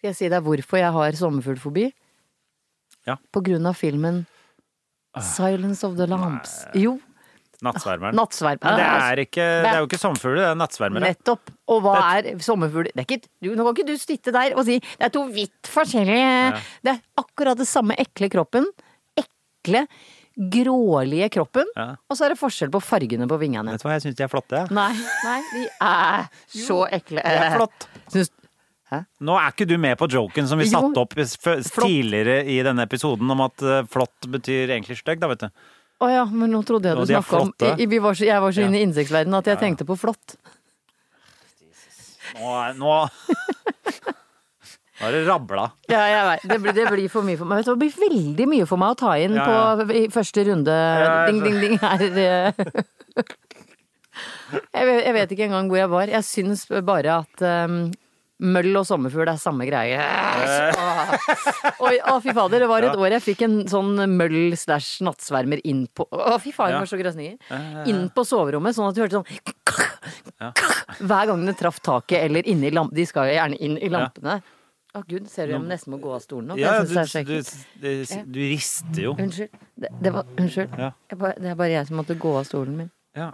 [SPEAKER 2] skal jeg si deg hvorfor jeg har sommerfuglfobi?
[SPEAKER 1] Ja.
[SPEAKER 2] På grunn av filmen 'Silence of the Lambs'. Jo,
[SPEAKER 1] Nattsvermeren.
[SPEAKER 2] nattsverm.
[SPEAKER 1] Men det er, ikke, det er jo ikke sommerfugler, det er nattsvermere.
[SPEAKER 2] Nettopp. Og hva er sommerfugl det er ikke, du, Nå kan ikke du sitte der og si det er to vidt forskjellige Det er akkurat det samme ekle kroppen. Ekle, grålige kroppen.
[SPEAKER 1] Ja.
[SPEAKER 2] Og så er det forskjell på fargene på vingene.
[SPEAKER 1] Vet du hva, jeg syns de er flotte. jeg.
[SPEAKER 2] Nei, nei, de er så ekle.
[SPEAKER 1] Det er flott.
[SPEAKER 2] Syns-
[SPEAKER 1] Nå er ikke du med på joken som vi
[SPEAKER 2] Jo,
[SPEAKER 1] satte opp i s- fø-
[SPEAKER 2] flott.
[SPEAKER 1] tidligere i denne episoden, om at eh, flott betyr egentlig stygg, da, vet du.
[SPEAKER 2] Å ja, men nå trodde jeg
[SPEAKER 1] Og
[SPEAKER 2] du
[SPEAKER 1] de er
[SPEAKER 2] snakka om
[SPEAKER 1] flotte.
[SPEAKER 2] i- i- vi var så, Jeg var så
[SPEAKER 1] Ja.
[SPEAKER 2] inne i insektverdenen at jeg tenkte på flått.
[SPEAKER 1] Nå er, nå... nå er det rabla.
[SPEAKER 2] Ja, jeg vet. Det, blir, det blir for mye for meg. Vet du, hva, det blir veldig mye for meg å ta inn
[SPEAKER 1] Ja, ja.
[SPEAKER 2] på i første runde.
[SPEAKER 1] jeg
[SPEAKER 2] Ding, ding, ding her. eh. Jeg vet, jeg vet ikke engang hvor jeg var. Jeg syns bare at eh, møll og sommerfugl er samme greie.
[SPEAKER 1] Eh.
[SPEAKER 2] Æsj! Åh. Oi, å, fy fader. Det var et år jeg fikk en sånn møll slash nattsvermer inn på Å, fy faen,
[SPEAKER 1] Ja.
[SPEAKER 2] det var så grøsninger. Inn på soverommet, sånn at du hørte sånn Hver gang den traff taket eller inni lamp... De skal jo gjerne inn i lampene. Å gud, ser du jeg nesten må gå av stolen nå? for
[SPEAKER 1] Ja,
[SPEAKER 2] jeg
[SPEAKER 1] du,
[SPEAKER 2] synes det er så
[SPEAKER 1] du,
[SPEAKER 2] ekkelt.
[SPEAKER 1] du, du rister jo.
[SPEAKER 2] Unnskyld. Det, det var, unnskyld.
[SPEAKER 1] Ja.
[SPEAKER 2] Jeg bare, det er bare jeg som måtte gå av stolen min.
[SPEAKER 1] Ja.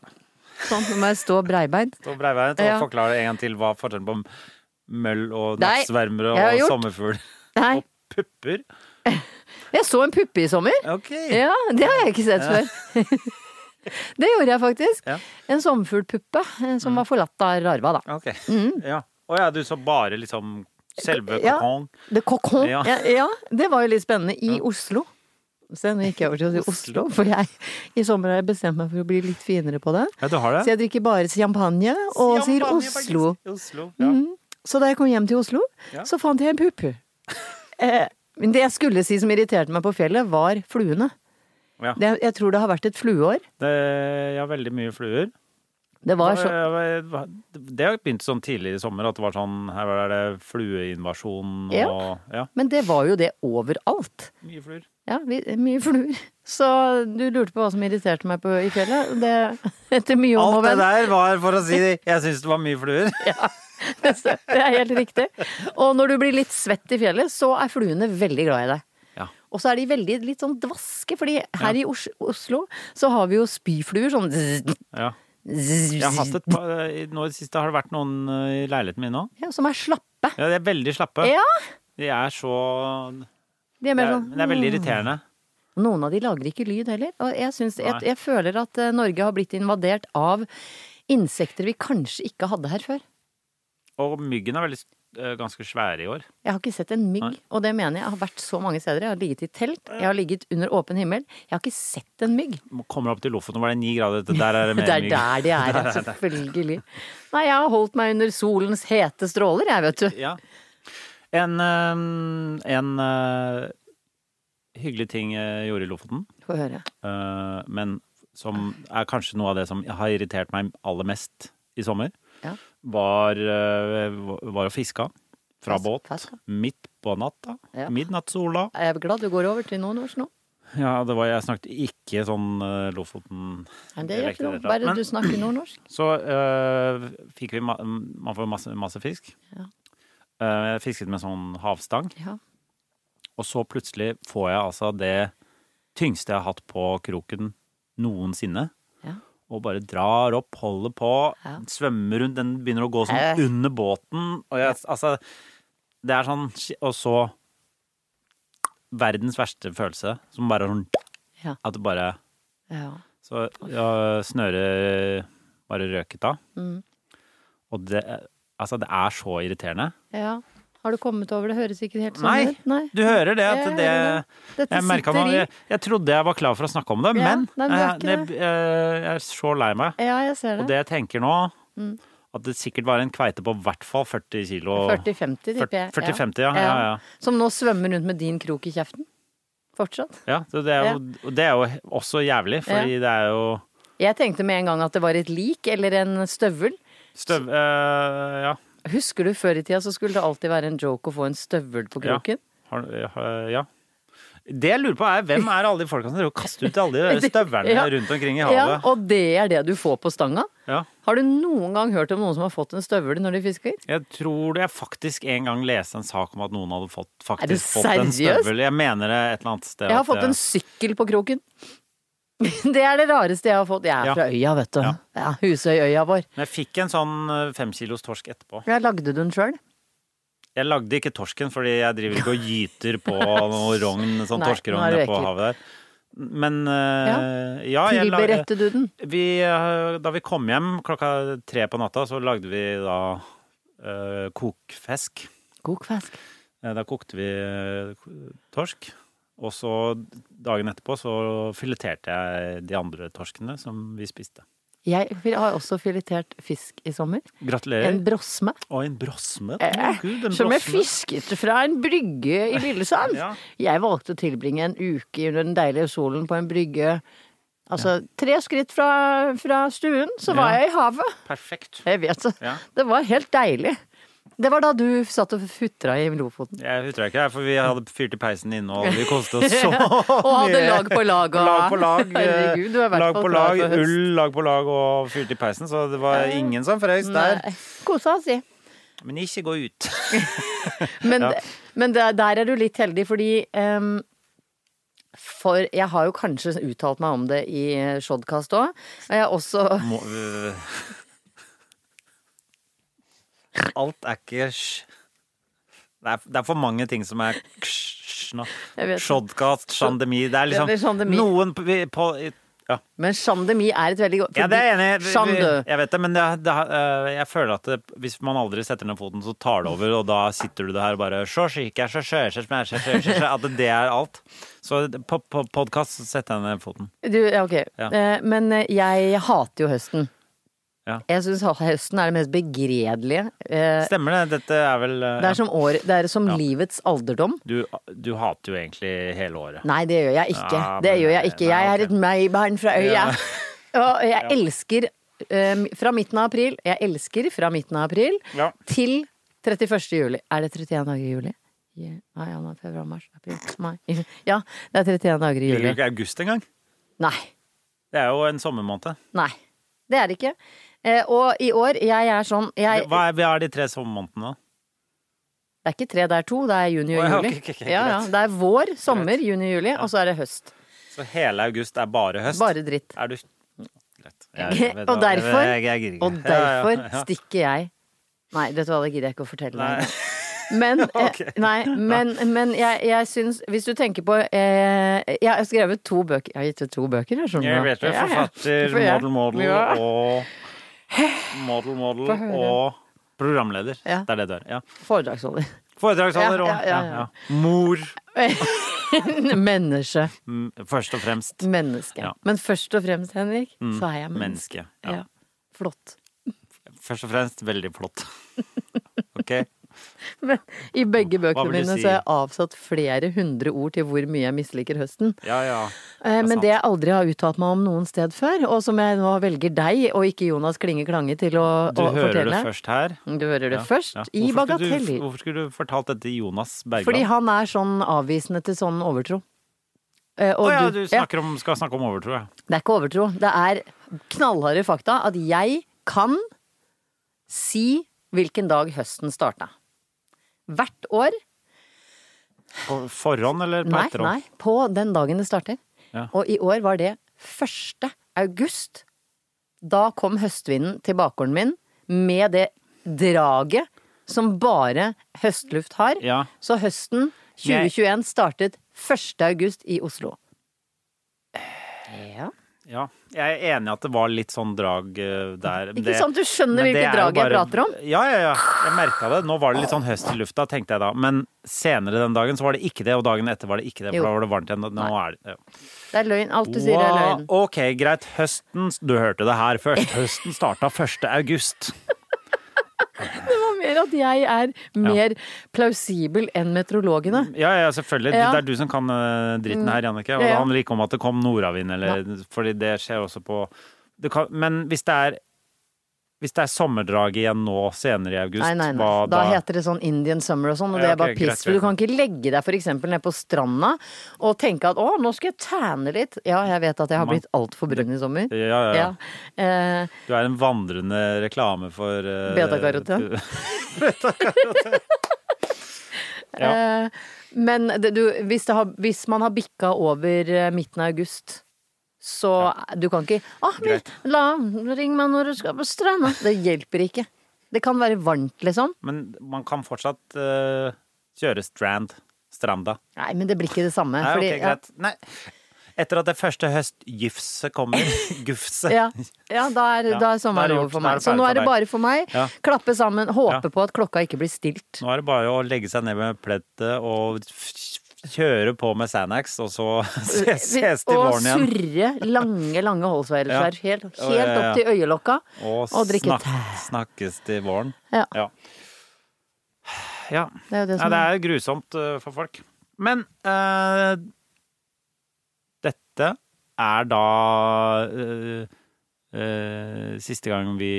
[SPEAKER 2] Sånn, nå må jeg stå breibeint.
[SPEAKER 1] Så Breiveien,
[SPEAKER 2] Ja.
[SPEAKER 1] forklar en gang til hva forskjellen på møll og
[SPEAKER 2] Nei,
[SPEAKER 1] nattsvermere
[SPEAKER 2] jeg har
[SPEAKER 1] og
[SPEAKER 2] gjort.
[SPEAKER 1] sommerfugl
[SPEAKER 2] Nei,
[SPEAKER 1] og pupper.
[SPEAKER 2] jeg så en puppe i sommer!
[SPEAKER 1] Ok.
[SPEAKER 2] Ja, det har jeg ikke sett før. det gjorde jeg faktisk.
[SPEAKER 1] Ja. Mm.
[SPEAKER 2] En sommerfuglpuppe eh, som var forlatt av larva, da.
[SPEAKER 1] Ok. Ja. Å ja, du så bare liksom selve
[SPEAKER 2] Mm. Ja.
[SPEAKER 1] kokong.
[SPEAKER 2] Det kokong.
[SPEAKER 1] Ja.
[SPEAKER 2] Ja. ja, det var jo litt spennende. I Oslo. Se, nå gikk jeg over til å si Oslo, for jeg, i sommer har jeg bestemt meg for å bli litt finere på det.
[SPEAKER 1] Ja, du har
[SPEAKER 2] Så
[SPEAKER 1] det?
[SPEAKER 2] jeg drikker bare champagne og sier Oslo. Mm.
[SPEAKER 1] Oslo, ja.
[SPEAKER 2] Så da jeg kom hjem til Oslo,
[SPEAKER 1] Ja.
[SPEAKER 2] så fant jeg en pupu. Eh, men det jeg skulle si som irriterte meg på fjellet, var fluene.
[SPEAKER 1] Ja.
[SPEAKER 2] Det, jeg tror det har vært et flueår.
[SPEAKER 1] Det, jeg har veldig mye fluer.
[SPEAKER 2] Det var
[SPEAKER 1] eh,
[SPEAKER 2] så
[SPEAKER 1] Det begynte sånn tidlig i sommer, at det var sånn her er det flueinvasjon og ja.
[SPEAKER 2] Ja. Men det var jo det overalt.
[SPEAKER 1] mye fluer.
[SPEAKER 2] Ja, vi, mye fluer. Så du lurte på hva som irriterte meg på, i fjellet. og Det, etter mye om
[SPEAKER 1] Alt
[SPEAKER 2] og
[SPEAKER 1] det
[SPEAKER 2] men.
[SPEAKER 1] der var for å si jeg syns det var mye fluer.
[SPEAKER 2] Det er helt riktig. Og når du blir litt svett i fjellet, så er fluene veldig glad i deg.
[SPEAKER 1] Ja.
[SPEAKER 2] Og så er de veldig litt sånn dvaske, fordi her i Os Oslo så har vi jo spyfluer sånn zzz,
[SPEAKER 1] Ja.
[SPEAKER 2] zzz,
[SPEAKER 1] Jeg har hatt et par, i- nå i det siste har det vært noen eh, i leiligheten min nå.
[SPEAKER 2] ja, som er slappe.
[SPEAKER 1] Ja, De er veldig slappe.
[SPEAKER 2] Ja,
[SPEAKER 1] De er så
[SPEAKER 2] de er
[SPEAKER 1] det
[SPEAKER 2] mer
[SPEAKER 1] er,
[SPEAKER 2] sånn
[SPEAKER 1] det er veldig irriterende.
[SPEAKER 2] Noen av de lager ikke lyd heller. Og jeg, syns, jeg,
[SPEAKER 1] Nei.
[SPEAKER 2] jeg føler at eh, Norge har blitt invadert av insekter vi kanskje ikke hadde her før.
[SPEAKER 1] Og myggen er veldig eh, ganske svære i år.
[SPEAKER 2] Jeg har ikke sett en mygg,
[SPEAKER 1] Nei.
[SPEAKER 2] og det mener jeg. Jeg har vært så mange steder. Jeg har ligget i telt, jeg har ligget under åpen himmel. Jeg har ikke sett en mygg.
[SPEAKER 1] Kommer opp til Lofoten, var det ni grader. ute. Der er det mer
[SPEAKER 2] Det er
[SPEAKER 1] mygg.
[SPEAKER 2] der de er, ja, selvfølgelig. Nei, jeg har holdt meg under solens hete stråler, jeg, vet du.
[SPEAKER 1] Ja. En, eh, en eh, hyggelig ting eh, jeg gjorde i Lofoten,
[SPEAKER 2] Få høre.
[SPEAKER 1] eh, men som er kanskje noe av det som har irritert meg aller mest i sommer,
[SPEAKER 2] Ja.
[SPEAKER 1] var, eh, var å fiske fra
[SPEAKER 2] Fisk-
[SPEAKER 1] båt
[SPEAKER 2] fiske.
[SPEAKER 1] midt på natta.
[SPEAKER 2] Ja.
[SPEAKER 1] Midnattssola.
[SPEAKER 2] Jeg er glad du går over til noen års nå.
[SPEAKER 1] Ja, det var, jeg snakket ikke sånn eh, Lofoten
[SPEAKER 2] Men det gjør
[SPEAKER 1] dialekt i
[SPEAKER 2] ikke noe.
[SPEAKER 1] det hele tatt.
[SPEAKER 2] Bare
[SPEAKER 1] Men-
[SPEAKER 2] du snakker nordnorsk.
[SPEAKER 1] Så øh, fikk vi ma Man får masse, masse fisk.
[SPEAKER 2] Ja.
[SPEAKER 1] Øh, jeg fisket med sånn havstang,
[SPEAKER 2] Ja.
[SPEAKER 1] og så plutselig får jeg altså det tyngste jeg har hatt på kroken noensinne.
[SPEAKER 2] Ja.
[SPEAKER 1] Og bare drar opp, holder på,
[SPEAKER 2] Ja.
[SPEAKER 1] svømmer rundt. Den begynner å gå sånn
[SPEAKER 2] Øh.
[SPEAKER 1] under båten. Og jeg, altså Det er sånn Og så Verdens verste følelse, som bare er sånn
[SPEAKER 2] Ja.
[SPEAKER 1] At det bare
[SPEAKER 2] ja.
[SPEAKER 1] så ja, snøret bare røket av.
[SPEAKER 2] Mm.
[SPEAKER 1] Og det, altså, det er så irriterende.
[SPEAKER 2] ja. Har du kommet over det? Høres ikke helt
[SPEAKER 1] Nei,
[SPEAKER 2] sånn ut. Nei.
[SPEAKER 1] Du hører det at
[SPEAKER 2] Jeg
[SPEAKER 1] det
[SPEAKER 2] hører det. Dette
[SPEAKER 1] jeg, merket
[SPEAKER 2] sitter
[SPEAKER 1] meg-
[SPEAKER 2] i.
[SPEAKER 1] jeg, jeg trodde jeg var klar for å snakke om det,
[SPEAKER 2] Ja,
[SPEAKER 1] men
[SPEAKER 2] nei, men du er
[SPEAKER 1] eh,
[SPEAKER 2] ikke
[SPEAKER 1] det- eh, jeg er så lei meg.
[SPEAKER 2] Ja, Mm. jeg ser
[SPEAKER 1] Og
[SPEAKER 2] det.
[SPEAKER 1] det jeg tenker nå, at det sikkert var en kveite på hvert fall 40 kilo.
[SPEAKER 2] 40-50, tipper jeg.
[SPEAKER 1] 40-50, ja. ja, ja.
[SPEAKER 2] Som nå svømmer rundt med din krok i kjeften. Fortsatt.
[SPEAKER 1] ja så det, er jo, og det er jo også jævlig, fordi det er jo
[SPEAKER 2] Jeg tenkte med en gang at det var et lik eller en støvel.
[SPEAKER 1] støv... eh, ja.
[SPEAKER 2] Husker du før i tida så skulle det alltid være en joke å få en støvel på kroken?
[SPEAKER 1] Har, har- ja. Det jeg lurer på er, hvem er alle de folka som driver og kaster ut alle de der støvlene
[SPEAKER 2] Ja.
[SPEAKER 1] rundt omkring i
[SPEAKER 2] Ja,
[SPEAKER 1] havet?
[SPEAKER 2] og det er det du får på stanga?
[SPEAKER 1] Ja.
[SPEAKER 2] Har du noen gang hørt om noen som har fått en støvel når de fisker?
[SPEAKER 1] Jeg tror det jeg faktisk en gang leste en sak om at noen hadde fått,
[SPEAKER 2] Er du
[SPEAKER 1] faktisk fått en
[SPEAKER 2] seriøs?
[SPEAKER 1] støvel. Jeg mener det et eller annet sted.
[SPEAKER 2] Jeg
[SPEAKER 1] at
[SPEAKER 2] har fått en sykkel på kroken. Det er det rareste jeg har fått. Jeg er
[SPEAKER 1] Ja.
[SPEAKER 2] fra øya, vet du.
[SPEAKER 1] Ja.
[SPEAKER 2] Ja. Husøyøya vår.
[SPEAKER 1] Men jeg fikk en sånn eh, femkilos torsk etterpå.
[SPEAKER 2] Ja, lagde du den sjøl?
[SPEAKER 1] Jeg lagde ikke torsken, fordi jeg driver ikke og gyter på noe rogn, sånn
[SPEAKER 2] Nei, nå
[SPEAKER 1] torskerogn
[SPEAKER 2] er du
[SPEAKER 1] nede på
[SPEAKER 2] ekkel.
[SPEAKER 1] havet der. Men eh, ja, jeg la-
[SPEAKER 2] Tilberedte du den?
[SPEAKER 1] vi, eh, da vi kom hjem klokka tre på natta, så lagde vi da eh, kokfisk.
[SPEAKER 2] God kvask.
[SPEAKER 1] Eh, Da kokte vi eh, k- torsk. Og så dagen etterpå så fileterte jeg de andre torskene som vi spiste.
[SPEAKER 2] Jeg har også filetert fisk i sommer.
[SPEAKER 1] Gratulerer.
[SPEAKER 2] En brosme.
[SPEAKER 1] og en brosme. Å,
[SPEAKER 2] Eh,
[SPEAKER 1] Gud, en
[SPEAKER 2] Som jeg
[SPEAKER 1] brosme.
[SPEAKER 2] fisket fra en brygge i Lillesand.
[SPEAKER 1] Ja.
[SPEAKER 2] Jeg valgte å tilbringe en uke under den deilige solen på en brygge. Altså, tre skritt fra, fra stuen, så var
[SPEAKER 1] Ja.
[SPEAKER 2] jeg i havet.
[SPEAKER 1] Perfekt.
[SPEAKER 2] Jeg vet det.
[SPEAKER 1] Ja.
[SPEAKER 2] Det var helt deilig. Det var da du satt og hutra i Lofoten.
[SPEAKER 1] Jeg husker ikke, her, for vi hadde fyrt i peisen inne, og vi koste oss så mye.
[SPEAKER 2] Og hadde lag på lag. Og...
[SPEAKER 1] Lag på lag, eh,
[SPEAKER 2] Herregud, du er i hvert
[SPEAKER 1] lag,
[SPEAKER 2] fall
[SPEAKER 1] på
[SPEAKER 2] klar
[SPEAKER 1] lag
[SPEAKER 2] for høst.
[SPEAKER 1] ull lag på lag og fyrt i peisen, så det var ingen som frøys der.
[SPEAKER 2] Nei, Kosa oss, si.
[SPEAKER 1] Men ikke gå ut.
[SPEAKER 2] Men, men der, der er du litt heldig, fordi em, For jeg har jo kanskje uttalt meg om det i eh, Shodcast òg. Og jeg har også
[SPEAKER 1] Må, øh. Alt er ikke sj... Det er, det er for mange ting som er ksj nå.
[SPEAKER 2] Jeg vet det.
[SPEAKER 1] Shodcast, Shandemi Det er
[SPEAKER 2] Det er
[SPEAKER 1] liksom
[SPEAKER 2] Chandemi.
[SPEAKER 1] noen på, vi- på ja.
[SPEAKER 2] Men Chandemi er et veldig godt
[SPEAKER 1] ja, det er jeg enig i.
[SPEAKER 2] Shand,
[SPEAKER 1] Vi- vi- Jeg vet det, men det, er- det, er, øh, jeg føler at det, hvis man aldri setter ned foten, så tar det over, og da sitter du der og bare så syk jeg, så skjør, så smær, så skjør, så skjør», At det er alt. Så det- på, på podkast setter jeg ned foten.
[SPEAKER 2] du, ja, ok.
[SPEAKER 1] Ja.
[SPEAKER 2] Eh, Men eh, jeg hater jo høsten.
[SPEAKER 1] Ja.
[SPEAKER 2] Jeg syns høsten er det mest begredelige. Eh,
[SPEAKER 1] Stemmer det? Dette er vel øh,
[SPEAKER 2] Det
[SPEAKER 1] ja.
[SPEAKER 2] er som, år, det er som livets alderdom.
[SPEAKER 1] du, du hater jo egentlig hele året.
[SPEAKER 2] Nei, det gjør jeg ikke.
[SPEAKER 1] Ja,
[SPEAKER 2] det
[SPEAKER 1] men-
[SPEAKER 2] gjør jeg ikke.
[SPEAKER 1] nei, ok.
[SPEAKER 2] Jeg er et meg-barn fra øya.
[SPEAKER 1] Ja.
[SPEAKER 2] Og jeg elsker eh, fra midten av april Jeg elsker fra midten av april
[SPEAKER 1] Ja.
[SPEAKER 2] til 31. juli. Er det 31 dager i juli? Ja, Nei, januar, februar, mars, april, mai Ja, det er 31 dager
[SPEAKER 1] Gjelder
[SPEAKER 2] i juli.
[SPEAKER 1] jo ikke august engang.
[SPEAKER 2] Nei.
[SPEAKER 1] Det er jo en sommermåned.
[SPEAKER 2] Nei. Det er det ikke. Eh, og i år, jeg er sånn jeg,
[SPEAKER 1] Hva er, hva er de tre sommermånedene?
[SPEAKER 2] Det er ikke tre, det er to. Det er juni
[SPEAKER 1] Å,
[SPEAKER 2] og
[SPEAKER 1] ja,
[SPEAKER 2] juli.
[SPEAKER 1] ok, ok, ok,
[SPEAKER 2] ja, ja,
[SPEAKER 1] greit.
[SPEAKER 2] det er vår, sommer, juni og juli, og så er det høst.
[SPEAKER 1] Så hele august er bare høst?
[SPEAKER 2] Bare dritt.
[SPEAKER 1] Er du Greit.
[SPEAKER 2] Og derfor-
[SPEAKER 1] jeg- jeg gidder ikke.
[SPEAKER 2] Og
[SPEAKER 1] Ja,
[SPEAKER 2] derfor
[SPEAKER 1] ja, ja.
[SPEAKER 2] stikker jeg Nei, vet du hva, det gidder jeg ikke å fortelle deg.
[SPEAKER 1] Nei.
[SPEAKER 2] Men, eh,
[SPEAKER 1] Ok.
[SPEAKER 2] nei, men, men jeg, jeg syns Hvis du tenker på eh, Jeg har skrevet to bøker. Jeg har gitt ut to bøker, jeg skjønner
[SPEAKER 1] Jeg
[SPEAKER 2] du.
[SPEAKER 1] vet det.
[SPEAKER 2] Ja, ja.
[SPEAKER 1] Forfatter,
[SPEAKER 2] For jeg-
[SPEAKER 1] model, model
[SPEAKER 2] Ja.
[SPEAKER 1] og Model, model
[SPEAKER 2] Få høre.
[SPEAKER 1] og Programleder.
[SPEAKER 2] Ja.
[SPEAKER 1] Det er det du er. Ja.
[SPEAKER 2] Foredragsholder.
[SPEAKER 1] Foredragsholder og
[SPEAKER 2] Ja, ja, ja, ja.
[SPEAKER 1] Mor,
[SPEAKER 2] Menneske.
[SPEAKER 1] mm, først og fremst.
[SPEAKER 2] Menneske.
[SPEAKER 1] Ja. Mm.
[SPEAKER 2] Men først og fremst, Henrik, så er jeg menneske.
[SPEAKER 1] Menneske. Ja.
[SPEAKER 2] Flott.
[SPEAKER 1] Først og fremst veldig flott. Ok?
[SPEAKER 2] Men i begge bøkene
[SPEAKER 1] vil du
[SPEAKER 2] mine
[SPEAKER 1] si?
[SPEAKER 2] så har jeg avsatt flere hundre ord til hvor mye jeg misliker høsten.
[SPEAKER 1] Ja, ja.
[SPEAKER 2] Eh, Men
[SPEAKER 1] sant.
[SPEAKER 2] det jeg aldri har uttalt meg om noen sted før, og som jeg nå velger deg og ikke Jonas Klinge Klange til å,
[SPEAKER 1] Du
[SPEAKER 2] å
[SPEAKER 1] hører
[SPEAKER 2] fortelle.
[SPEAKER 1] det først her.
[SPEAKER 2] Du hører det
[SPEAKER 1] Ja,
[SPEAKER 2] først
[SPEAKER 1] ja.
[SPEAKER 2] i
[SPEAKER 1] Hvorfor skulle du-
[SPEAKER 2] Bagateller.
[SPEAKER 1] Hvorfor skulle du fortalt dette til Jonas Bergland?
[SPEAKER 2] Fordi han er sånn avvisende til sånn overtro. Eh, og
[SPEAKER 1] Å ja, du
[SPEAKER 2] du- ja,
[SPEAKER 1] snakker om, skal snakke om overtro, ja.
[SPEAKER 2] det er ikke overtro. Det er knallharde fakta at jeg kan si hvilken dag høsten starta. Hvert år.
[SPEAKER 1] På forhånd eller på
[SPEAKER 2] Nei,
[SPEAKER 1] etterhånd?
[SPEAKER 2] nei. På den dagen det starter.
[SPEAKER 1] Ja.
[SPEAKER 2] Og i år var det 1. august. Da kom høstvinden til bakgården min med det draget som bare høstluft har.
[SPEAKER 1] Ja.
[SPEAKER 2] Så høsten 2021 startet 1. august i Oslo. Ja.
[SPEAKER 1] Ja, jeg er enig i at det var litt sånn drag eh, der.
[SPEAKER 2] Ikke sant? Du skjønner
[SPEAKER 1] men det
[SPEAKER 2] hvilket
[SPEAKER 1] er jo
[SPEAKER 2] drag jeg prater om?
[SPEAKER 1] Ja, ja, ja. Jeg merka det. Nå var det litt sånn høst i lufta, tenkte jeg da. Men senere den dagen så var det ikke det, og dagen etter var det ikke det.
[SPEAKER 2] Jo.
[SPEAKER 1] For da var det varmt igjen. og Nå er det ja.
[SPEAKER 2] Det er løgn. Alt du sier er
[SPEAKER 1] Wow,
[SPEAKER 2] løgn.
[SPEAKER 1] OK, greit. Høsten Du hørte det her først. Høsten starta 1. august.
[SPEAKER 2] Det var mer at jeg er mer plausibel enn meteorologene.
[SPEAKER 1] Ja, ja, selvfølgelig.
[SPEAKER 2] Ja.
[SPEAKER 1] Det er du som kan eh, dritten her, Jannicke. Og
[SPEAKER 2] Ja,
[SPEAKER 1] det
[SPEAKER 2] ja.
[SPEAKER 1] handler ikke om at det kom nordavind, eller Fordi det skjer også på det kan, Men hvis det er hvis det er sommerdrag igjen nå senere i august,
[SPEAKER 2] Nei, nei, nei.
[SPEAKER 1] hva
[SPEAKER 2] Da heter det sånn Indian summer og sånn, og
[SPEAKER 1] Ja,
[SPEAKER 2] det er bare
[SPEAKER 1] ok, greit,
[SPEAKER 2] piss. For
[SPEAKER 1] greit.
[SPEAKER 2] du kan ikke legge deg for eksempel nede på stranda og tenke at å, nå skal jeg tanne litt. Ja, jeg vet at jeg har
[SPEAKER 1] Man-
[SPEAKER 2] blitt altfor brun i sommer.
[SPEAKER 1] Ja, ja, ja.
[SPEAKER 2] Eh,
[SPEAKER 1] Du er en vandrende reklame for uh,
[SPEAKER 2] Beta-karoten.
[SPEAKER 1] ja.
[SPEAKER 2] eh, men det, du, hvis, det har, hvis man har bikka over eh, midten av august, så du kan ikke Å, men
[SPEAKER 1] Greit.
[SPEAKER 2] la, ring meg når du skal på stranda. Det hjelper ikke. Det kan være varmt, liksom.
[SPEAKER 1] Men man kan fortsatt eh, kjøre strand. Stranda.
[SPEAKER 2] Nei, men det blir ikke det samme.
[SPEAKER 1] Nei,
[SPEAKER 2] fordi-
[SPEAKER 1] ok, greit. Nei. Etter at det første høstgyfset kommer, gufset
[SPEAKER 2] Ja, ja, da, er,
[SPEAKER 1] Ja,
[SPEAKER 2] da er
[SPEAKER 1] da
[SPEAKER 2] sommeren
[SPEAKER 1] er det
[SPEAKER 2] over
[SPEAKER 1] gjort. Da er
[SPEAKER 2] for meg.
[SPEAKER 1] det
[SPEAKER 2] Så nå
[SPEAKER 1] ferdig
[SPEAKER 2] er det
[SPEAKER 1] for
[SPEAKER 2] bare for meg.
[SPEAKER 1] Ja.
[SPEAKER 2] Klappe sammen, håpe
[SPEAKER 1] Ja.
[SPEAKER 2] på at klokka ikke blir stilt.
[SPEAKER 1] Nå er det bare å legge seg ned med plettet og f- kjøre på med Sanax, og så ses, ses til
[SPEAKER 2] og
[SPEAKER 1] våren igjen.
[SPEAKER 2] surre lange, lange Holsweiler-skjær helt, helt
[SPEAKER 1] Ja, ja, ja.
[SPEAKER 2] opp til øyelokka.
[SPEAKER 1] Og,
[SPEAKER 2] og drikke
[SPEAKER 1] snak,
[SPEAKER 2] te.
[SPEAKER 1] snakkes til våren.
[SPEAKER 2] Ja.
[SPEAKER 1] Ja. Ja.
[SPEAKER 2] Det er jo det
[SPEAKER 1] Ja,
[SPEAKER 2] som
[SPEAKER 1] det er grusomt eh, for folk. Men eh, dette er da eh, eh, siste gang vi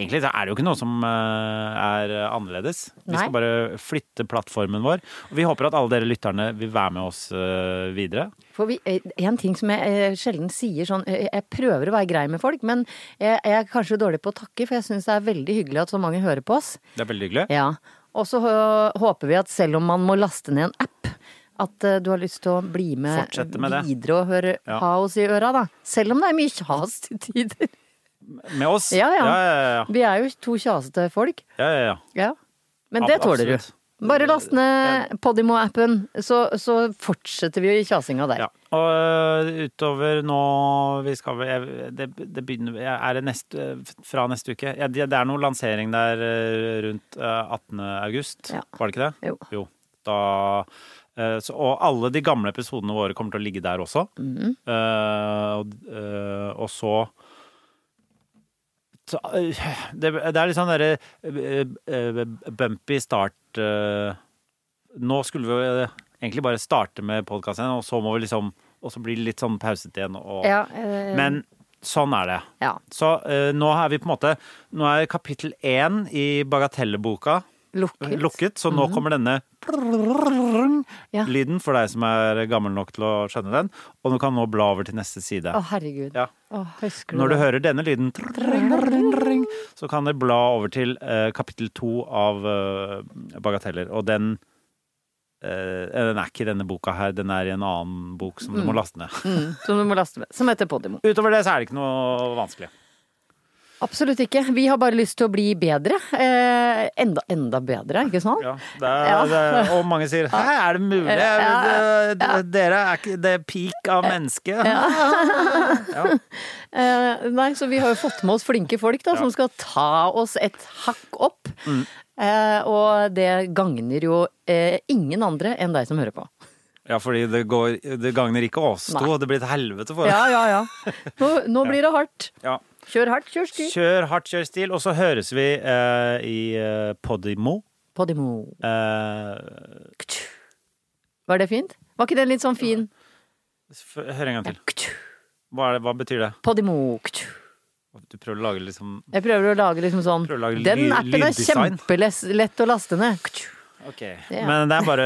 [SPEAKER 1] Egentlig så er det jo ikke noe som eh, er annerledes. Vi
[SPEAKER 2] Nei.
[SPEAKER 1] skal bare flytte plattformen vår. Og vi håper at alle dere lytterne vil være med oss eh, videre.
[SPEAKER 2] For vi, eh, en ting som jeg eh, sjelden sier sånn eh, Jeg prøver å være grei med folk, men jeg, jeg er kanskje dårlig på å takke, for jeg syns det er veldig hyggelig at så mange hører på oss.
[SPEAKER 1] Det er veldig hyggelig.
[SPEAKER 2] Ja. Og så øh, håper vi at selv om man må laste ned en app, at øh, du har lyst til å bli med,
[SPEAKER 1] Fortsette med det.
[SPEAKER 2] videre og høre,
[SPEAKER 1] Ja.
[SPEAKER 2] ha oss i øra, da. Selv om det er mye kjas til tider.
[SPEAKER 1] Med oss?
[SPEAKER 2] Ja, ja.
[SPEAKER 1] ja, ja,
[SPEAKER 2] Vi er jo to kjasete folk.
[SPEAKER 1] ja, ja, ja.
[SPEAKER 2] Ja. Men det
[SPEAKER 1] Ab-
[SPEAKER 2] tåler du.
[SPEAKER 1] absolutt.
[SPEAKER 2] Bare last ned Podimo-appen, så, så fortsetter vi kjasinga der.
[SPEAKER 1] Ja. Og ø, utover nå Vi skal vel jeg- Det, det begynner jeg- Er det neste, fra neste uke? Ja, det, det er noe lansering der ø, rundt ø, 18. august,
[SPEAKER 2] Ja.
[SPEAKER 1] var det ikke det?
[SPEAKER 2] Jo.
[SPEAKER 1] Da ø, så, Og alle de gamle episodene våre kommer til å ligge der også.
[SPEAKER 2] Mhm.
[SPEAKER 1] Eh, og, eh, og så så, ø, det, det er litt sånn derre ø, ø, bumpy start ø, nå skulle vi jo eh, egentlig bare starte med podkasten, og så må vi liksom Og så blir det litt sånn pauset igjen. Og,
[SPEAKER 2] Ja, øh,
[SPEAKER 1] Men sånn er det.
[SPEAKER 2] ja.
[SPEAKER 1] Så eh, nå er vi på en måte Nå er kapittel én i bagatelleboka
[SPEAKER 2] Lukket.
[SPEAKER 1] lukket, så nå kommer denne
[SPEAKER 2] Ja.
[SPEAKER 1] lyden for deg som er gammel nok til å skjønne den. Og du kan nå bla over til neste side.
[SPEAKER 2] Å, herregud.
[SPEAKER 1] Ja.
[SPEAKER 2] Å, husker du
[SPEAKER 1] Når du
[SPEAKER 2] det?
[SPEAKER 1] hører denne lyden, så kan det bla over til eh, kapittel to av eh, Bagateller. Og den eh, Den er ikke i denne boka her, den er i en annen bok som du må laste ned.
[SPEAKER 2] Som du må laste med. Som heter Podimo.
[SPEAKER 1] Utover det så er det ikke noe vanskelig.
[SPEAKER 2] Absolutt ikke. Vi har bare lyst til å bli bedre. Eh, enda, enda bedre, ikke sant?
[SPEAKER 1] Ja, det er, det er, og mange sier 'hæ, er det mulig?'
[SPEAKER 2] Ja,
[SPEAKER 1] Det- det- Dere er ikke det er peak av mennesket. Ja.
[SPEAKER 2] Eh, nei, så vi har jo fått med oss flinke folk da, som skal ta oss et hakk opp.
[SPEAKER 1] Mm.
[SPEAKER 2] Eh, og det gagner jo eh, ingen andre enn deg som hører på.
[SPEAKER 1] ja, fordi det, går, det gagner ikke oss to.
[SPEAKER 2] Nei.
[SPEAKER 1] Det blir et helvete for oss.
[SPEAKER 2] Ja, ja, ja. Nå, nå blir det hardt.
[SPEAKER 1] Ja.
[SPEAKER 2] Kjør hardt, kjør skru.
[SPEAKER 1] Kjør hardt, kjør stil. Og så høres vi eh, i eh, Podimo.
[SPEAKER 2] Podimo.
[SPEAKER 1] Eh,
[SPEAKER 2] Var det fint? Var ikke den litt sånn fin?
[SPEAKER 1] f- hør en gang til. Hva, er det, hva betyr det?
[SPEAKER 2] Podimo.
[SPEAKER 1] Du prøver å lage liksom
[SPEAKER 2] Jeg prøver å lage liksom sånn
[SPEAKER 1] Prøver å lage
[SPEAKER 2] Den
[SPEAKER 1] ly-
[SPEAKER 2] appen er
[SPEAKER 1] lyddesign.
[SPEAKER 2] kjempelett å laste ned.
[SPEAKER 1] Ok,
[SPEAKER 2] Ja.
[SPEAKER 1] men det er bare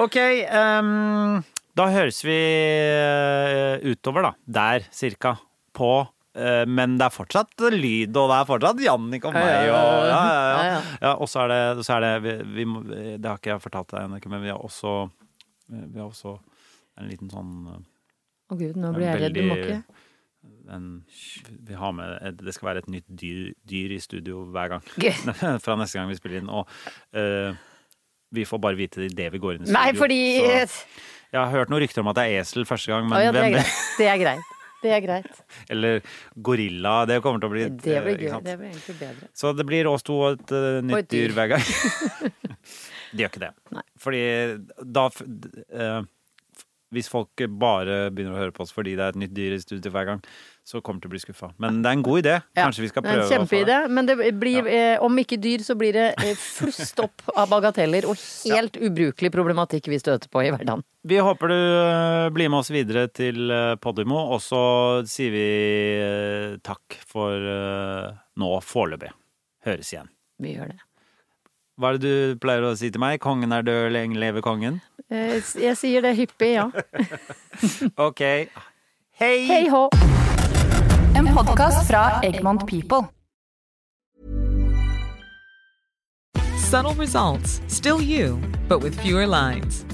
[SPEAKER 1] Ok, ehm, da høres vi eh, utover da, der cirka, på eh, men det er fortsatt lyd, og det er fortsatt Jannik og meg. Og, ja, ja, ja.
[SPEAKER 2] Ja, ja.
[SPEAKER 1] Ja, og så er det, så er det vi, vi, må- Det har ikke jeg fortalt deg, Jannicke, men vi har også eh, Vi har også en liten sånn
[SPEAKER 2] Å gud, nå
[SPEAKER 1] en
[SPEAKER 2] blir jeg redd. Du må
[SPEAKER 1] veldig-
[SPEAKER 2] ikke
[SPEAKER 1] en, Vi har med et- Det skal være et nytt dyr, dyr i studio hver gang
[SPEAKER 2] Gøy.
[SPEAKER 1] fra neste gang vi spiller inn. Og eh, vi får bare vite det idet vi går inn i studio.
[SPEAKER 2] Nei, fordi
[SPEAKER 1] Så, jeg har hørt noen rykter om at det er esel første gang, men
[SPEAKER 2] Å ja, det er
[SPEAKER 1] hvem
[SPEAKER 2] greit. Det er greit. Det er greit.
[SPEAKER 1] Eller gorilla. Det kommer til å bli
[SPEAKER 2] Det
[SPEAKER 1] eh,
[SPEAKER 2] blir
[SPEAKER 1] ikke
[SPEAKER 2] gøy.
[SPEAKER 1] sant?
[SPEAKER 2] Det blir egentlig bedre.
[SPEAKER 1] Så det blir oss to og et eh, nytt
[SPEAKER 2] Og et dyr.
[SPEAKER 1] dyr. hver gang. De gjør ikke det.
[SPEAKER 2] Nei.
[SPEAKER 1] Fordi da f- d- eh, f- Hvis folk bare begynner å høre på oss fordi det er et nytt dyr i studio hver gang, så kommer de til å bli skuffa. Men det er en god idé.
[SPEAKER 2] Ja,
[SPEAKER 1] Kanskje vi skal
[SPEAKER 2] det er
[SPEAKER 1] prøve
[SPEAKER 2] en
[SPEAKER 1] å få det.
[SPEAKER 2] Kjempeidé. Men det blir, eh, om ikke dyr, så blir det eh, flust opp av bagateller og helt ubrukelig problematikk vi støter på i hverdagen.
[SPEAKER 1] Vi håper du eh, blir med oss videre til eh, Podimo, og så sier vi eh, takk for eh, nå foreløpig. Høres igjen.
[SPEAKER 2] Vi gjør det.
[SPEAKER 1] Hva er det du pleier å si til meg? Kongen er død, lenge leve kongen.
[SPEAKER 2] Eh, s- Jeg sier det hyppig, ja.
[SPEAKER 1] OK.
[SPEAKER 2] Hei hå!
[SPEAKER 6] En podkast fra Egmont People.
[SPEAKER 4] Subtle results, still you, but with fewer lines.